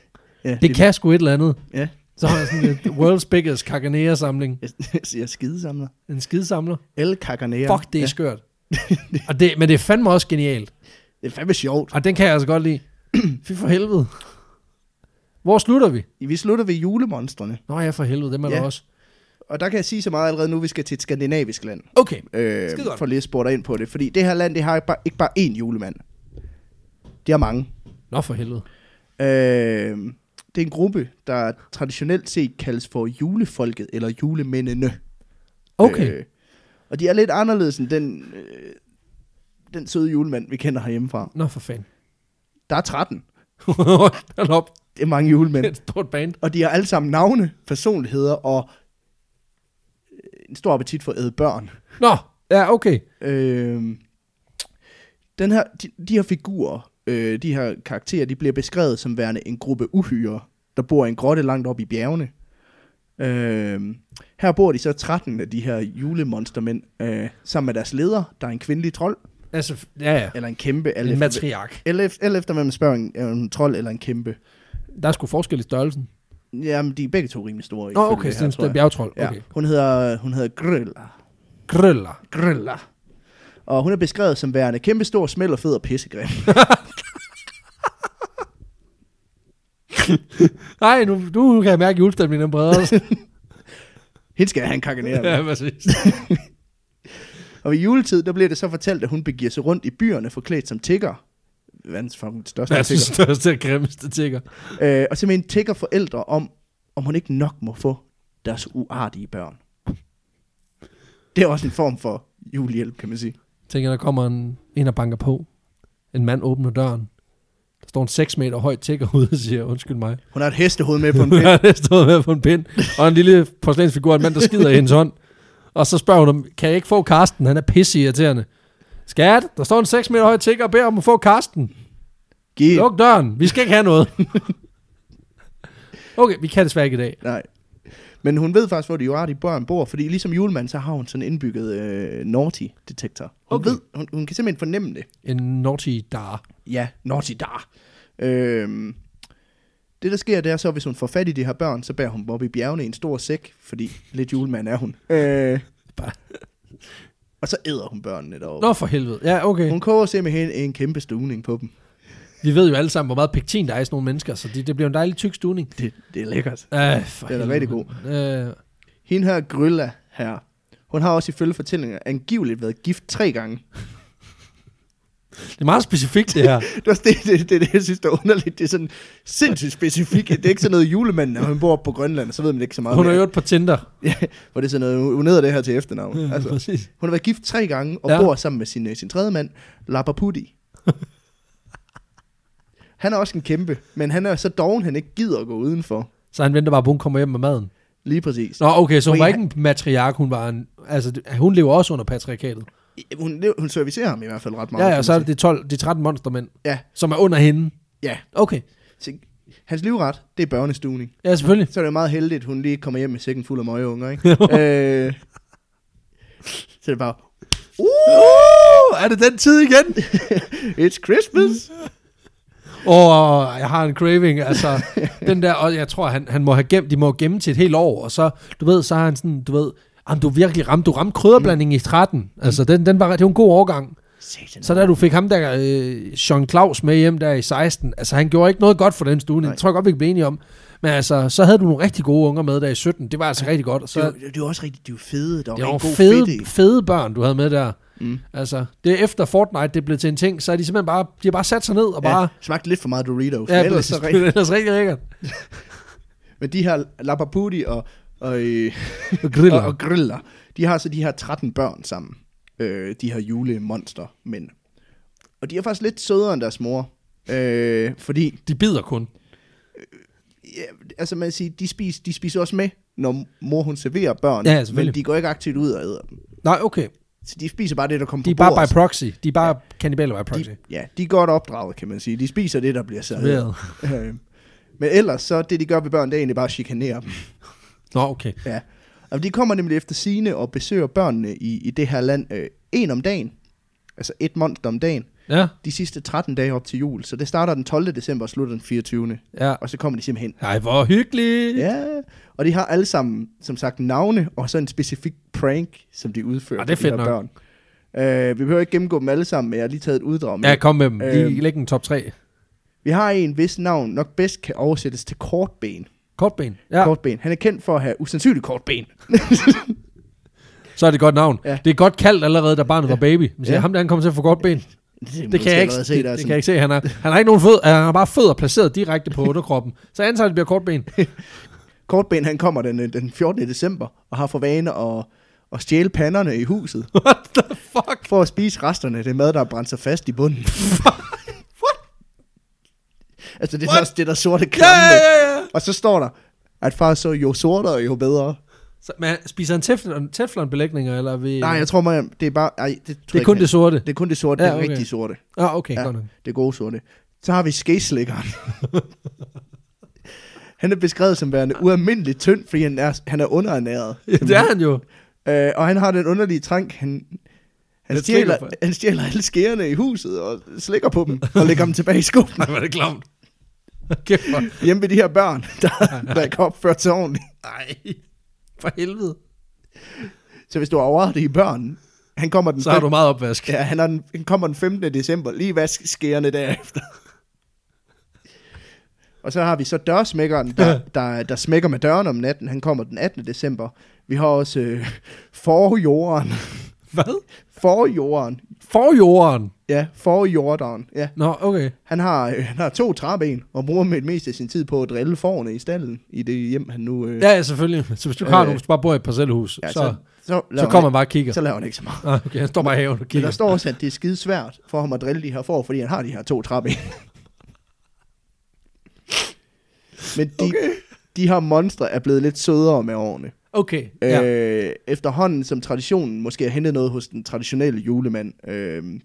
Speaker 2: Ja,
Speaker 1: Det kan sgu et eller andet.
Speaker 2: Ja.
Speaker 1: Så har jeg sådan lidt World's Biggest Cacanea-samling.
Speaker 2: Jeg siger skidesamler.
Speaker 1: En skidesamler.
Speaker 2: El Cacanea.
Speaker 1: Fuck, det er
Speaker 2: ja.
Speaker 1: skørt. Og det, men det er fandme også genialt.
Speaker 2: Det er fandme sjovt.
Speaker 1: Og den kan jeg altså godt lide. Fy for helvede. Hvor slutter vi?
Speaker 2: Vi slutter ved julemonstrene.
Speaker 1: Nå ja, for helvede, dem er
Speaker 2: Ja.
Speaker 1: der også.
Speaker 2: Og der kan jeg sige så meget allerede nu, vi skal til et skandinavisk land.
Speaker 1: Okay.
Speaker 2: Øh,
Speaker 1: Skide godt.
Speaker 2: for lige at spore dig ind på det. Fordi det her land, det har ikke bare, ikke bare én julemand. Det har mange.
Speaker 1: Nå for helvede.
Speaker 2: Øh, det er en gruppe, der traditionelt set kaldes for julefolket, eller julemændene.
Speaker 1: Okay. Øh.
Speaker 2: Øh, og de er lidt anderledes end den, øh, den søde julemand, vi kender herhjemmefra.
Speaker 1: Nå for fanden.
Speaker 2: Der er 13.
Speaker 1: Hold op.
Speaker 2: Det er mange
Speaker 1: Det
Speaker 2: julemænd.
Speaker 1: er et stort band.
Speaker 2: Og de har alle sammen navne, personligheder og en stor appetit for at æde børn.
Speaker 1: Nå, ja, okay.
Speaker 2: Øh, den her, de, de her figurer, øh, de her karakterer, de bliver beskrevet som værende en gruppe uhyre, der bor i en grotte langt op i bjergene. Øh, her bor de så 13 af de her julemonstermænd, øh, sammen med deres leder, der er en kvindelig trold,
Speaker 1: Altså, ja, ja.
Speaker 2: eller en kæmpe. alt
Speaker 1: En
Speaker 2: efter-
Speaker 1: matriark.
Speaker 2: alt efter- alt efter, hvem man spørger, en, er hun en trold eller en kæmpe.
Speaker 1: Der er sgu forskel i størrelsen.
Speaker 2: Jamen, de er begge to rimelig store.
Speaker 1: Nå,
Speaker 2: ifølge
Speaker 1: okay,
Speaker 2: det her,
Speaker 1: sådan
Speaker 2: tror
Speaker 1: en
Speaker 2: jeg.
Speaker 1: bjergetrold.
Speaker 2: Ja,
Speaker 1: Okay.
Speaker 2: hun hedder, hun hedder Grilla.
Speaker 1: Grøller.
Speaker 2: Grilla. Og hun er beskrevet som værende kæmpestor, smæld og fed og pissegrim.
Speaker 1: Nej, nu, nu kan jeg mærke, at julestemningen er bredere.
Speaker 2: Hende skal jeg have en kakanere med.
Speaker 1: ja, præcis.
Speaker 2: Og ved juletid, der bliver det så fortalt, at hun begiver sig rundt i byerne forklædt som tigger. Verdens fucking største
Speaker 1: Verdens
Speaker 2: tigger.
Speaker 1: største og grimmeste tigger.
Speaker 2: Øh, og simpelthen tigger forældre om, om hun ikke nok må få deres uartige børn. Det er også en form for julehjælp, kan man sige.
Speaker 1: Tænker, der kommer en, en og banker på. En mand åbner døren. Der står en 6 meter høj tigger ude og siger, undskyld mig.
Speaker 2: Hun har et hestehoved med på en
Speaker 1: Hun
Speaker 2: pind.
Speaker 1: har det stået med på en pind. Og en lille porcelænsfigur af en mand, der skider i hendes hånd. Og så spørger hun om, kan jeg ikke få Karsten? Han er pisse irriterende. Skat, der står en 6 meter høj tigger og beder om at få Karsten.
Speaker 2: Giv.
Speaker 1: Luk døren, vi skal ikke have noget. Okay, vi kan desværre ikke i dag.
Speaker 2: Nej. Men hun ved faktisk, hvor de uartige børn bor, fordi ligesom julemanden, så har hun sådan en indbygget øh, naughty-detektor. Hun,
Speaker 1: Okay.
Speaker 2: okay. ved, hun, hun kan simpelthen fornemme det.
Speaker 1: En naughty dar.
Speaker 2: Ja, naughty dar. Øhm, det, der sker, det er så, hvis hun får fat i de her børn, så bærer hun dem op i bjergene i en stor sæk, fordi lidt julemand er hun. Øh,
Speaker 1: Bare-
Speaker 2: og så æder hun børnene derovre.
Speaker 1: Nå for helvede. Ja, okay.
Speaker 2: Hun koger simpelthen en kæmpe stuning på dem.
Speaker 1: Vi ved jo alle sammen, hvor meget pektin der er i sådan nogle mennesker, så det, det bliver en dejlig tyk stuning.
Speaker 2: Det, det er lækkert.
Speaker 1: Øh, for
Speaker 2: Den er
Speaker 1: helvede,
Speaker 2: rigtig god.
Speaker 1: mand. Øh,
Speaker 2: Hende her Grilla her, hun har også ifølge fortællinger angiveligt været gift tre gange.
Speaker 1: det er meget specifikt, det her.
Speaker 2: Det er det, det, det, det, jeg synes, der er underligt. Det er sådan sindssygt specifikt. Det er ikke sådan noget julemanden, når hun bor oppe på Grønland, så ved man ikke så meget.
Speaker 1: Hun er
Speaker 2: mere.
Speaker 1: jo på Tinder.
Speaker 2: Ja, hvor det er sådan noget, hun hedder det her til efternavn.
Speaker 1: Ja,
Speaker 2: altså.
Speaker 1: præcis.
Speaker 2: Hun har været gift tre gange og
Speaker 1: Ja.
Speaker 2: ja. bor sammen med sin, øh, sin tredje mand, Lapapudi. han er også en kæmpe, men han er så doven, han ikke gider at gå udenfor.
Speaker 1: Så han venter bare på, at hun kommer hjem med maden.
Speaker 2: Lige præcis.
Speaker 1: Nå, okay, så hun
Speaker 2: Fordi
Speaker 1: var ikke en matriark, hun var en... Altså, det- hun lever også under patriarkatet.
Speaker 2: Hun, lev- hun servicerer ham i hvert fald ret meget.
Speaker 1: Ja, ja,
Speaker 2: kan
Speaker 1: så
Speaker 2: man
Speaker 1: er det de, 12, de 13 monstermænd,
Speaker 2: sige. Ja,
Speaker 1: som er under hende.
Speaker 2: ja.
Speaker 1: Okay,
Speaker 2: Så, hans livret, det er børnestuning.
Speaker 1: ja, selvfølgelig.
Speaker 2: Så er det jo meget heldigt, at hun lige kommer hjem med sækken fuld af møgeunger, ikke? øh, så er det bare,
Speaker 1: Uh, er det den tid igen?
Speaker 2: it's Christmas!
Speaker 1: Åh, oh, jeg har en craving, altså, den der, og jeg tror, han, han må have gemt, de må have gemt til et helt år, og så, du ved, så har han sådan, du ved, jamen, du virkelig ramte, du ramte krydderblandingen i 13,
Speaker 2: Mm.
Speaker 1: altså, den, den var, det var en god overgang.
Speaker 2: Satan.
Speaker 1: Så da du fik ham der, øh, Jean Claus med hjem der i 16, altså, han gjorde ikke noget godt for den stue, det
Speaker 2: Nej.
Speaker 1: tror jeg godt, vi kan blive enige om, men altså, så havde du nogle rigtig gode unger med der i 17, det var altså rigtig godt, og så,
Speaker 2: det, er jo- det, er jo også rigtig, de er jo fede. Der er
Speaker 1: det
Speaker 2: jo
Speaker 1: var
Speaker 2: en god
Speaker 1: fede,
Speaker 2: fedt i.
Speaker 1: fede børn, du havde med der.
Speaker 2: Mm.
Speaker 1: Altså, det er efter Fortnite, det blev til en ting, så er de simpelthen bare, de har bare sat sig ned og bare...
Speaker 2: Ja, smagte lidt for meget Doritos.
Speaker 1: Ja,
Speaker 2: Ja,
Speaker 1: ja
Speaker 2: men, ellers
Speaker 1: præcis. det
Speaker 2: så rent.
Speaker 1: er ellers rigtig lækkert.
Speaker 2: men de her Lapapudi og, og, øh,
Speaker 1: Og griller.
Speaker 2: og, og Griller, de har så de her 13 børn sammen. Øh, de her julemonster mænd. Og de er faktisk lidt sødere end deres mor. Øh, fordi,
Speaker 1: De bider kun.
Speaker 2: ja, altså man kan sige, de spiser, de spiser også med, når mor hun serverer børn.
Speaker 1: Ja, ja, selvfølgelig.
Speaker 2: men de går ikke aktivt ud og æder dem.
Speaker 1: Nej, okay.
Speaker 2: Så de spiser bare det, der kommer
Speaker 1: De er
Speaker 2: på
Speaker 1: bare by
Speaker 2: bordet.
Speaker 1: proxy. De er bare ja. kannibaler by proxy.
Speaker 2: altså- de, ja, de er godt opdraget, kan man sige. De spiser det, der bliver serveret.
Speaker 1: Serveret.
Speaker 2: Øh, men ellers, så det de gør ved børn, det er egentlig bare at chikanere dem.
Speaker 1: Nå, okay.
Speaker 2: Ja, og de kommer nemlig efter sine og besøger børnene i, i det her land øh, en om dagen, altså et monster om dagen,
Speaker 1: Ja,
Speaker 2: de sidste 13 dage op til jul. Så det starter den 12. december og slutter den 24.
Speaker 1: ja.
Speaker 2: Og så kommer de simpelthen.
Speaker 1: Ej, hvor hyggeligt.
Speaker 2: Ja, og de har alle sammen, som sagt, navne og så en specifik prank, som de udfører
Speaker 1: Ah, det er
Speaker 2: for de
Speaker 1: fedt
Speaker 2: her
Speaker 1: nok.
Speaker 2: børn. Uh, vi behøver ikke gennemgå dem alle sammen, men jeg har lige taget et uddrag med.
Speaker 1: Ja, kom med dem. Lige
Speaker 2: Øhm.
Speaker 1: læg en top 3.
Speaker 2: Vi har en, hvis navn nok bedst kan oversættes til kortben.
Speaker 1: Kortben.
Speaker 2: Ja.
Speaker 1: Ja, Kort.
Speaker 2: kortben. Han er kendt for at have usandsynligt kortben.
Speaker 1: så er det et godt navn.
Speaker 2: Ja.
Speaker 1: Ja. Det er godt kaldt allerede, da barnet ja. var baby. Man siger,
Speaker 2: Ja.
Speaker 1: ja. ham der, han kommer til at få godt ben.
Speaker 2: Det,
Speaker 1: Det kan, jeg ikke, se, det, det kan jeg ikke se. Han har, han har ikke nogen fødder. Han har bare fødder placeret direkte på underkroppen. Så jeg antager, det bliver kortben.
Speaker 2: Kortben, han kommer den, øh, den 14. december og har for vane at, at stjæle panderne i huset.
Speaker 1: What the fuck?
Speaker 2: For at spise resterne af det mad, der har brændt sig fast i bunden. altså det der,
Speaker 1: What?
Speaker 2: det der sorte klampe.
Speaker 1: Ja, ja, ja, ja.
Speaker 2: Og så står der, at far så jo sortere, jo bedre.
Speaker 1: Så, men han- spiser han teflon, teflonbelægninger, eller vi...
Speaker 2: Nej, jeg tror mig, det er bare... Ej, det, tror
Speaker 1: det
Speaker 2: jeg
Speaker 1: er kun
Speaker 2: ikke,
Speaker 1: det sorte.
Speaker 2: det er kun det sorte,
Speaker 1: Ja,
Speaker 2: ja, okay. det
Speaker 1: okay.
Speaker 2: rigtige sorte.
Speaker 1: Ah, okay,
Speaker 2: Ja.
Speaker 1: ja. godt nok.
Speaker 2: Det gode sorte. Så har vi skeslikkeren. han er beskrevet som værende ualmindeligt tynd, fordi han er, han er underernæret.
Speaker 1: Ja, det er han jo.
Speaker 2: Øh, og han har den underlige trang, han, han,
Speaker 1: Jeg
Speaker 2: stjæler,
Speaker 1: tænker på-
Speaker 2: han stjæler alle skærene i huset og slikker på dem og lægger dem tilbage i skuffen.
Speaker 1: Nej, var det klamt. Kæft for...
Speaker 2: Hjemme ved de her børn, der, der ikke har opført sig ordentligt.
Speaker 1: Nej, for helvede.
Speaker 2: Så hvis du har overrettet i børn, han kommer den,
Speaker 1: Så har
Speaker 2: fem-
Speaker 1: du meget opvask.
Speaker 2: ja, han, er den, han kommer den 15. december, lige vask skærene derefter. Og så har vi så dørsmækkeren, der, der, der smækker med døren om natten. Han kommer den 18. december. Vi har også øh, forjorden.
Speaker 1: Hvad?
Speaker 2: Forjorden.
Speaker 1: Forjorden.
Speaker 2: Ja, forjorderen. Ja.
Speaker 1: Nå, okay.
Speaker 2: Han har, øh, han har to træben og bruger med mest af sin tid på at drille forne i stallen i det hjem, han nu... Øh,
Speaker 1: Ja, ja, selvfølgelig. Så hvis du har
Speaker 2: Øh.
Speaker 1: øh, nogen, hvis du bare bor i et parcelhus, ja, så, så,
Speaker 2: så,
Speaker 1: så
Speaker 2: laver
Speaker 1: kommer
Speaker 2: han,
Speaker 1: man bare og kigger.
Speaker 2: ikke- Så laver han ikke så meget.
Speaker 1: Ah, okay, han står bare i haven og
Speaker 2: Men
Speaker 1: kigger.
Speaker 2: der står også, at det er skide svært for ham at drille de her får, fordi han har de her to træben. Men de, okay. de her monstre er blevet lidt sødere med årene.
Speaker 1: Okay, ja. Øh,
Speaker 2: Ja. Øh, efterhånden som traditionen måske har hentet noget hos den traditionelle julemand. Øh,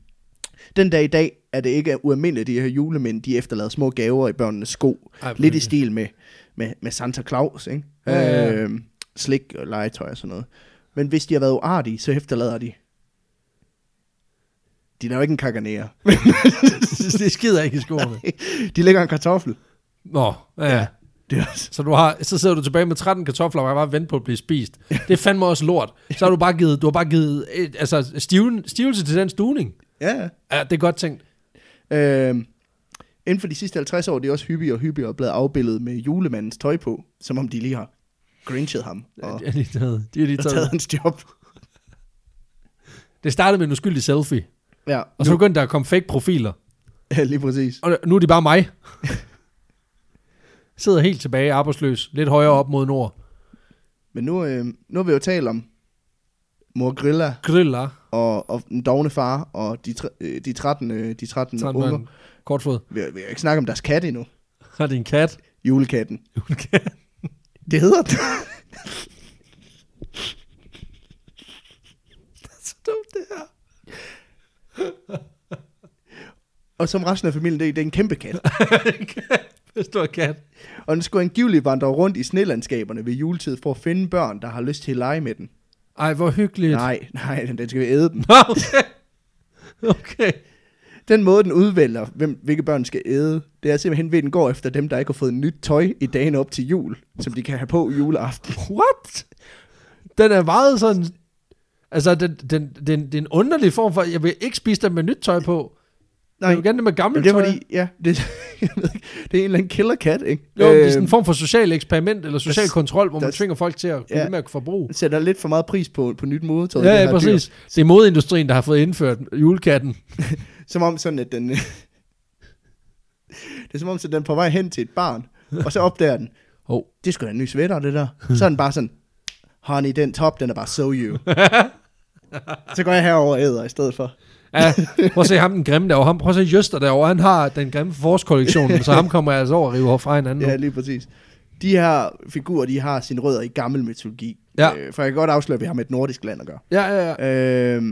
Speaker 2: den dag i dag er det ikke ualmindeligt, at de her julemænd de efterlader små gaver i børnenes sko.
Speaker 1: Ej,
Speaker 2: Lidt i stil med, med, med Santa Claus, ikke?
Speaker 1: Ja, ja, ja.
Speaker 2: Øh, slik og legetøj og sådan noget. Men hvis de har været uartige, så efterlader de. De laver ikke en kakanere.
Speaker 1: det skider ikke i skoene.
Speaker 2: De lægger en kartoffel.
Speaker 1: Nå, ja. ja.
Speaker 2: Det er også...
Speaker 1: Så, du har, så sidder du tilbage med 13 kartofler, og bare venter på at blive spist. Det er fandme også lort. Så har du bare givet, du har bare givet et, altså, stiven, stivelse til den stuning.
Speaker 2: Ja, ja.
Speaker 1: Ja, det er godt tænkt.
Speaker 2: Øhm, inden for de sidste 50 år, det er også hyppigere og hyppigere blevet afbildet med julemandens tøj på, som om de lige har grinchet ham og
Speaker 1: De har lige taget. De har lige
Speaker 2: taget
Speaker 1: taget.
Speaker 2: hans job.
Speaker 1: Det startede med en uskyldig selfie,
Speaker 2: Ja,
Speaker 1: og så begyndte der at komme fake profiler.
Speaker 2: ja, lige præcis.
Speaker 1: Og nu er det bare mig. Sidder helt tilbage, arbejdsløs, lidt højere op mod nord.
Speaker 2: Men nu, øh, nu har vi jo talt om mor Grilla
Speaker 1: Griller.
Speaker 2: og, og den dogne far og de, tre- øh, de 13, øh, de 13
Speaker 1: Sådan
Speaker 2: unger.
Speaker 1: en kortfod.
Speaker 2: Vi, vi har ikke snakket om deres kat endnu.
Speaker 1: Har det en kat?
Speaker 2: Julekatten. Det hedder den.
Speaker 1: Så dumt det her.
Speaker 2: Og som resten af familien, det, det er en kæmpe kat.
Speaker 1: En stor kat.
Speaker 2: Og den skulle angiveligt vandre rundt i snelandskaberne ved juletid for at finde børn, der har lyst til at lege med den.
Speaker 1: Ej, hvor hyggeligt.
Speaker 2: Nej, nej, den den skal vi æde dem.
Speaker 1: Nå, Okay. okay.
Speaker 2: Den måde, den udvælger, hvem, hvilke børn skal æde, det er simpelthen ved, at den går efter dem, der ikke har fået nyt tøj i dagen op til jul, som de kan have på juleaften.
Speaker 1: What? Den er meget sådan... Altså, den, den, den, det er en underlig form for... Jeg vil ikke spise den med nyt tøj på. Nej.
Speaker 2: Nej,
Speaker 1: Jeg vil gerne det med
Speaker 2: men
Speaker 1: gammelt
Speaker 2: det er
Speaker 1: tøj.
Speaker 2: fordi, ja, det, jeg ved ikke, det er en eller anden killer cat, ikke?
Speaker 1: Jo, det er
Speaker 2: Øhm,
Speaker 1: sådan en form for social eksperiment, eller social
Speaker 2: der-
Speaker 1: kontrol, hvor man
Speaker 2: der-
Speaker 1: tvinger folk til at
Speaker 2: Ja.
Speaker 1: ja. med at forbruge.
Speaker 2: den sætter lidt for meget pris på, på nyt modetøj.
Speaker 1: Ja,
Speaker 2: det
Speaker 1: ja,
Speaker 2: her
Speaker 1: præcis.
Speaker 2: Dyr,
Speaker 1: Det er modindustrien, der har fået indført julekatten.
Speaker 2: som om sådan, at den... det er som om, at den er på vej hen til et barn, og så opdager den,
Speaker 1: Oh.
Speaker 2: det skulle da en ny sweater, det der. Så er den bare sådan, honey, den top, den er bare so you. så går jeg herover og æder i stedet for.
Speaker 1: Ja, prøv at se ham den grimme derovre. Ham, prøv at se Jøster derovre. Han har den grimme forårskollektion, så ham kommer jeg altså over og river fra hinanden.
Speaker 2: Ja,
Speaker 1: Ja.
Speaker 2: lige præcis. De her figurer, de har sine rødder i gammel mytologi.
Speaker 1: Ja.
Speaker 2: Øh, for jeg kan godt afsløre, at vi har med et nordisk land at gøre.
Speaker 1: ja, ja, ja.
Speaker 2: Øh,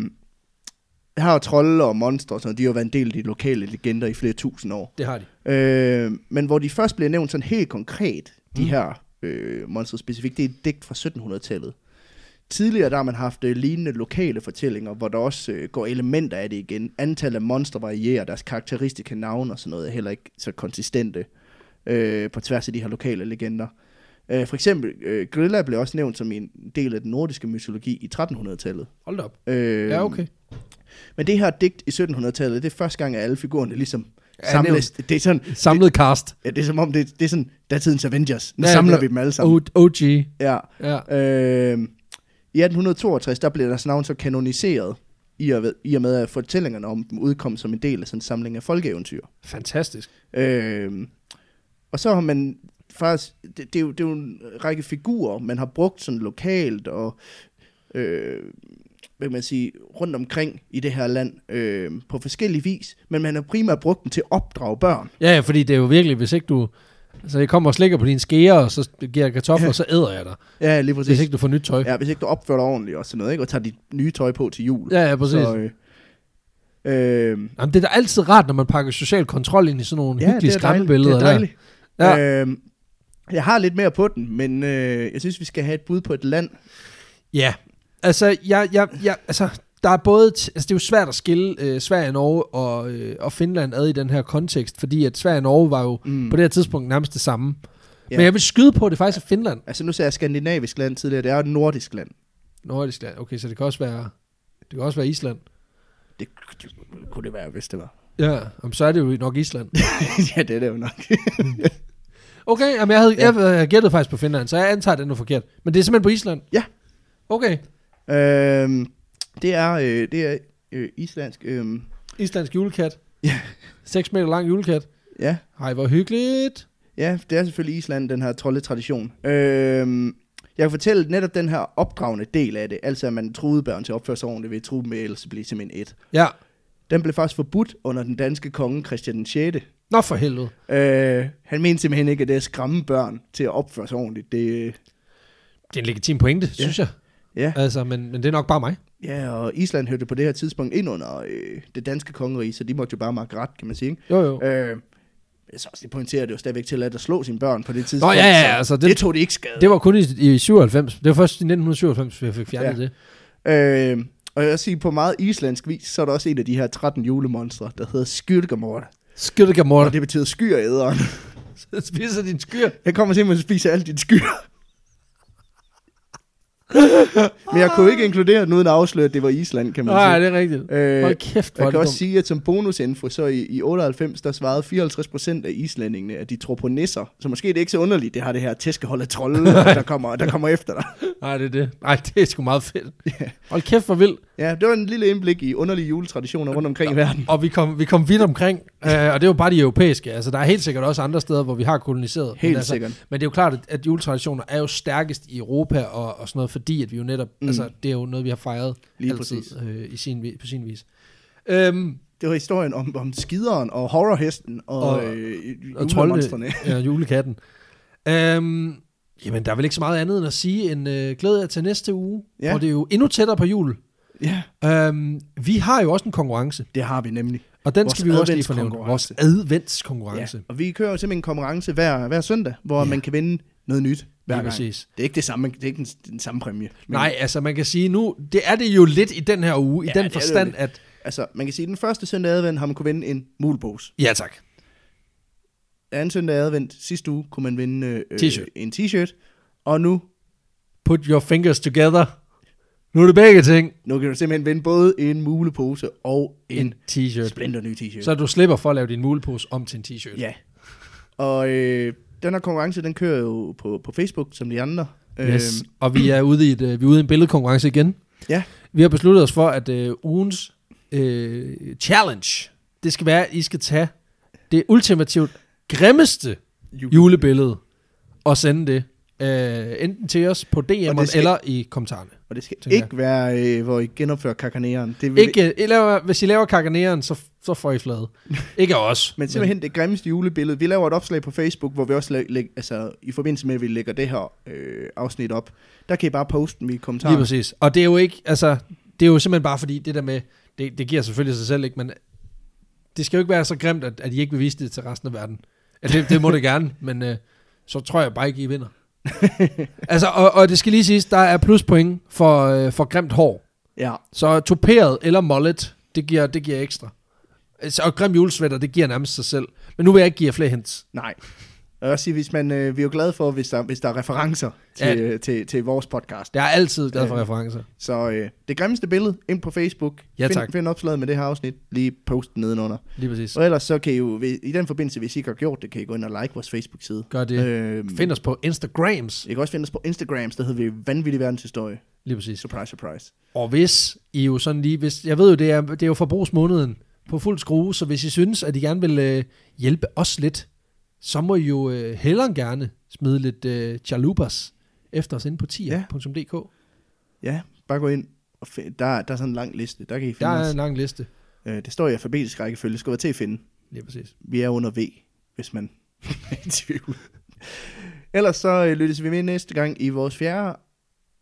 Speaker 2: her er trolde og monstre, og sådan, noget, de har jo været en del af de lokale legender i flere tusind år.
Speaker 1: Det har de.
Speaker 2: Øh, men hvor de først bliver
Speaker 1: Mm.
Speaker 2: nævnt sådan helt konkret, de her øh, monstre specifikt, det er et digt fra 1700-tallet. Tidligere der har man haft øh, lignende lokale fortællinger, hvor der også øh, går elementer af det igen. Antallet af monstre varierer, deres karakteristiske navne og sådan noget er heller ikke så konsistente øh, på tværs af de her lokale legender. Øh, for eksempel, øh, Grilla blev også nævnt som en del af den nordiske mytologi i 1300-tallet.
Speaker 1: Hold da op.
Speaker 2: Øh,
Speaker 1: Ja, okay.
Speaker 2: Men det her digt i 1700-tallet, det er første gang, at alle figurerne ligesom
Speaker 1: Ja,
Speaker 2: samles. Det er sådan,
Speaker 1: Samlet cast.
Speaker 2: ja, det er som om, det, det er sådan datidens Avengers. Nu
Speaker 1: Ja,
Speaker 2: ja, Uh. samler
Speaker 1: det-
Speaker 2: vi dem alle sammen.
Speaker 1: O- OG.
Speaker 2: Ja.
Speaker 1: Ja.
Speaker 2: Øh, I 1862, der blev deres navn så kanoniseret, i og, ved, i og med at fortællingerne om dem udkom som en del af sådan en samling af folkeeventyr.
Speaker 1: Fantastisk.
Speaker 2: Øh, og så har man faktisk, det, det, er jo, det er jo en række figurer, man har brugt sådan lokalt og, øh, hvad kan man sige, rundt omkring i det her land øh, på forskellige vis, men man har primært brugt dem til at opdrage børn.
Speaker 1: Ja, ja, fordi det er jo virkelig, hvis ikke du... Altså, jeg kommer og slikker på dine skeer, og så giver jeg kartofler, og så æder jeg dig.
Speaker 2: Ja, lige præcis.
Speaker 1: Hvis ikke du får nyt tøj.
Speaker 2: Ja, hvis ikke du opfører dig ordentligt og sådan noget, ikke? og tager dit nye tøj på til jul.
Speaker 1: Ja, ja, præcis.
Speaker 2: Så, øh, øh,
Speaker 1: Jamen, det er da altid rart, når man pakker social kontrol ind i sådan nogle
Speaker 2: ja,
Speaker 1: ja, hyggelige
Speaker 2: det er dejligt.
Speaker 1: skræmmebilleder.
Speaker 2: Det er dejligt.
Speaker 1: Der. Ja.
Speaker 2: Ja. Øh, jeg har lidt mere på den, men øh, jeg synes, vi skal have et bud på et land.
Speaker 1: ja. Altså, jeg, jeg, jeg, altså, der er både t- altså, det er jo svært at skille øh, Sverige, Norge og, øh, og Finland ad i den her kontekst, fordi at Sverige og Norge var jo mm. på det her tidspunkt nærmest det samme.
Speaker 2: Ja.
Speaker 1: Ja. Men jeg vil skyde på, at det faktisk er Finland.
Speaker 2: Altså nu sagde jeg skandinavisk land tidligere, det er jo et nordisk land.
Speaker 1: Nordisk land. Okay, så det kan også være, det kan også være Island.
Speaker 2: Det, det kunne det være, hvis det var.
Speaker 1: Ja, jamen, så er det jo nok Island.
Speaker 2: ja, det er det jo nok.
Speaker 1: Okay, jamen, jeg, havde, ja. jeg, øh, jeg gættede faktisk på Finland, så jeg antager, at den er forkert. Men det er simpelthen på Island?
Speaker 2: Ja.
Speaker 1: Okay,
Speaker 2: øhm, det er, øh, det er øh, islandsk. Øh,
Speaker 1: islandsk julekat.
Speaker 2: Ja.
Speaker 1: 6 meter lang julekat.
Speaker 2: ja,
Speaker 1: Ej, hvor hyggeligt.
Speaker 2: ja, det er selvfølgelig Island, den her troldetradition. Øh, jeg kan fortælle netop den her opdragende del af det, altså at man truede børn til at opføre sig ordentligt ved at true dem med, ellers så bliver det simpelthen et.
Speaker 1: Ja.
Speaker 2: Den blev faktisk forbudt under den danske konge Christian den 6.
Speaker 1: Nå for helvede.
Speaker 2: Øh, han mente simpelthen ikke, at det at skræmme børn til at opføre sig ordentligt. Det,
Speaker 1: Det er en legitim pointe, ja. synes jeg.
Speaker 2: ja.
Speaker 1: Altså, men, men det er nok bare mig.
Speaker 2: ja, og Island hørte på det her tidspunkt ind under øh, det danske kongerige, så de måtte jo bare makke ret, kan man sige. Ikke?
Speaker 1: Jo, jo.
Speaker 2: Øh, jeg så også lige pointere, at det var stadigvæk tilladt at slå sine børn på det tidspunkt.
Speaker 1: Nå, ja, ja,
Speaker 2: så
Speaker 1: altså,
Speaker 2: det,
Speaker 1: det-
Speaker 2: det tog de ikke skade.
Speaker 1: Det var kun i, i 97. Det var først i 1997, vi fik fjernet
Speaker 2: Ja.
Speaker 1: ja. det.
Speaker 2: Øh, og jeg vil sige, på meget islandsk vis, så er der også en af de her 13 julemonstre, der hedder Skyrgamord.
Speaker 1: Skyttegamorter.
Speaker 2: Og det betyder skyræderen.
Speaker 1: Det spiser din skyr.
Speaker 2: Jeg kommer simpelthen og spiser alle dine skyer. Men jeg kunne ikke inkludere den uden at afsløre, at det var Island, kan man sige.
Speaker 1: Nej, det er rigtigt.
Speaker 2: Mm. Øh,
Speaker 1: Hold kæft, hvor er
Speaker 2: Jeg
Speaker 1: det
Speaker 2: kan også
Speaker 1: dumt.
Speaker 2: sige, at som bonusinfo, så i, i 98, der svarede 54% af islændingene, at de tror på nisser. Så måske er det ikke så underligt, det har det her tæskehold af trolde, der kommer, der kommer efter dig.
Speaker 1: Nej, det er det. Nej, det er sgu meget fedt. Hold kæft, hvor vildt.
Speaker 2: Ja, det var en lille indblik i underlige juletraditioner rundt omkring i verden.
Speaker 1: Og vi kom, vi kom vidt omkring, øh, og det er jo bare de europæiske. Altså, der er helt sikkert også andre steder, hvor vi har koloniseret.
Speaker 2: Helt
Speaker 1: men, altså,
Speaker 2: sikkert.
Speaker 1: Men det er jo klart, at, at juletraditioner er jo stærkest i Europa og, og sådan noget, fordi at vi jo netop, mm. altså, det er jo noget, vi har fejret
Speaker 2: Lige
Speaker 1: altid
Speaker 2: præcis.
Speaker 1: øh, i sin, vi- på sin vis. Øhm,
Speaker 2: Det var historien om, om skideren og horrorhesten og,
Speaker 1: Og-
Speaker 2: og, øh,
Speaker 1: og
Speaker 2: julemonstrene.
Speaker 1: trolde, ja, julekatten. Øhm, jamen, der er vel ikke så meget andet end at sige, end øh, glæder jer til næste uge,
Speaker 2: Ja.
Speaker 1: hvor det er jo endnu tættere på jul.
Speaker 2: Ja,
Speaker 1: Øhm, vi har jo også en konkurrence,
Speaker 2: det har vi nemlig.
Speaker 1: og den
Speaker 2: Vores
Speaker 1: skal vi jo også lige fornævne. Vores
Speaker 2: adventskonkurrence. Ja.
Speaker 1: adventskonkurrence.
Speaker 2: Og vi kører jo simpelthen en konkurrence hver, hver søndag, hvor
Speaker 1: Ja.
Speaker 2: man kan vinde noget nyt hver
Speaker 1: Lige
Speaker 2: gang.
Speaker 1: præcis.
Speaker 2: Det er ikke, det samme, det er ikke den, den samme præmie.
Speaker 1: Men... Nej, altså man kan sige nu, det er det jo lidt i den her uge,
Speaker 2: Ja,
Speaker 1: ja, i
Speaker 2: det er
Speaker 1: den
Speaker 2: det jo
Speaker 1: forstand,
Speaker 2: lidt.
Speaker 1: at...
Speaker 2: Altså, man kan sige, at den første søndag i advent har man kunne vinde en mulbos.
Speaker 1: Ja tak.
Speaker 2: Anden søndag i advent sidste uge kunne man vinde øh, øh,
Speaker 1: T-shirt.
Speaker 2: en t-shirt. Og nu,
Speaker 1: Put your fingers together. Nu er det begge ting.
Speaker 2: nu kan du simpelthen vinde både en mulepose og en,
Speaker 1: En t-shirt.
Speaker 2: splinter ny t-shirt.
Speaker 1: Så du slipper for at lave din mulepose om til en t-shirt.
Speaker 2: Ja. Og øh, den her konkurrence, den kører jo på, på Facebook, som de andre. Øhm,
Speaker 1: Yes. Og vi er ude i, et, øh, vi er ude i en billedkonkurrence igen.
Speaker 2: ja,
Speaker 1: Vi har besluttet os for, at øh, ugens øh, challenge, det skal være, at I skal tage det ultimativt grimmeste
Speaker 2: Jule-
Speaker 1: julebillede og sende det. Øh, enten til os på DM'en
Speaker 2: skal-
Speaker 1: skal... eller i kommentarerne.
Speaker 2: og det skal
Speaker 1: Tænker
Speaker 2: ikke være, øh, hvor I genopfører kakaneren. Det vil
Speaker 1: Ikke, I laver, hvis I laver kakaneren, så, så får I flade. Ikke af os.
Speaker 2: Men simpelthen det grimmeste julebillede. Vi laver et opslag på Facebook, hvor vi også læg, læg, altså, i forbindelse med, at vi lægger det her øh, afsnit op. Der kan I bare poste dem i
Speaker 1: Lige
Speaker 2: kommentarerne.
Speaker 1: præcis. Og det er jo ikke, altså, det er jo simpelthen bare fordi, det der med, det, det giver selvfølgelig sig selv ikke, men det skal jo ikke være så grimt, at, at I ikke vil vise det til resten af verden. Altså, det, det må det gerne, men øh, så tror jeg bare ikke, I vinder. altså, og, og det skal lige siges, der er pluspoint for, øh, for grimt hår.
Speaker 2: Ja.
Speaker 1: Så toperet eller mullet, det giver, det giver ekstra. Altså, og grim julesvætter, det giver nærmest sig selv. Men nu vil jeg ikke give jer flere hints.
Speaker 2: Nej. Og også sige, hvis man, øh, vi er jo glade for, hvis der, hvis der er referencer til,
Speaker 1: Ja.
Speaker 2: ja. øh, til, til vores podcast.
Speaker 1: Jeg er altid glad for
Speaker 2: Ja.
Speaker 1: referencer.
Speaker 2: Så øh, det grimmeste billede, ind på Facebook.
Speaker 1: Ja,
Speaker 2: find,
Speaker 1: tak.
Speaker 2: find opslaget med det her afsnit. Lige post den nedenunder.
Speaker 1: Lige præcis.
Speaker 2: Og ellers så kan I jo, hvis- i den forbindelse, hvis I ikke har gjort det, kan I gå ind og like vores Facebook-side.
Speaker 1: Gør det.
Speaker 2: Øhm,
Speaker 1: Find os på Instagrams.
Speaker 2: I kan også finde os på Instagrams, der hedder vi Vanvittig Verdenshistorie.
Speaker 1: Lige præcis.
Speaker 2: Surprise, surprise.
Speaker 1: Og hvis I jo sådan lige, hvis, jeg ved jo, det er, det er jo forbrugsmåneden på fuld skrue, så hvis I synes, at I gerne vil øh, hjælpe os lidt, så må I jo øh, hellere end gerne smide lidt øh, chalupas efter os inde på tier.dk.
Speaker 2: Ja, bare gå ind. Og find, der, der er sådan en lang liste, der kan I
Speaker 1: Der
Speaker 2: finde
Speaker 1: er
Speaker 2: os.
Speaker 1: en lang liste.
Speaker 2: Øh, det står i alfabetisk rækkefølge, det skal være til at finde.
Speaker 1: Lige præcis.
Speaker 2: Vi er under V, hvis man er i tvivl. Ellers så øh, lyttes vi med næste gang i vores fjerde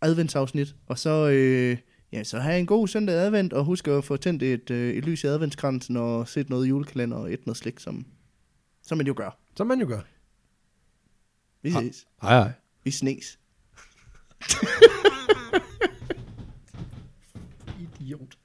Speaker 2: adventsafsnit. Og så, øh, ja, så have en god søndag advent, og husk at få tændt et, øh, et lys i adventskransen, og sæt noget julekalender og et noget slik, som, som man jo gør.
Speaker 1: Som man jo gør.
Speaker 2: Vi
Speaker 1: Ha-
Speaker 2: ses.
Speaker 1: Hej hej.
Speaker 2: Vi snes.
Speaker 1: Idiot.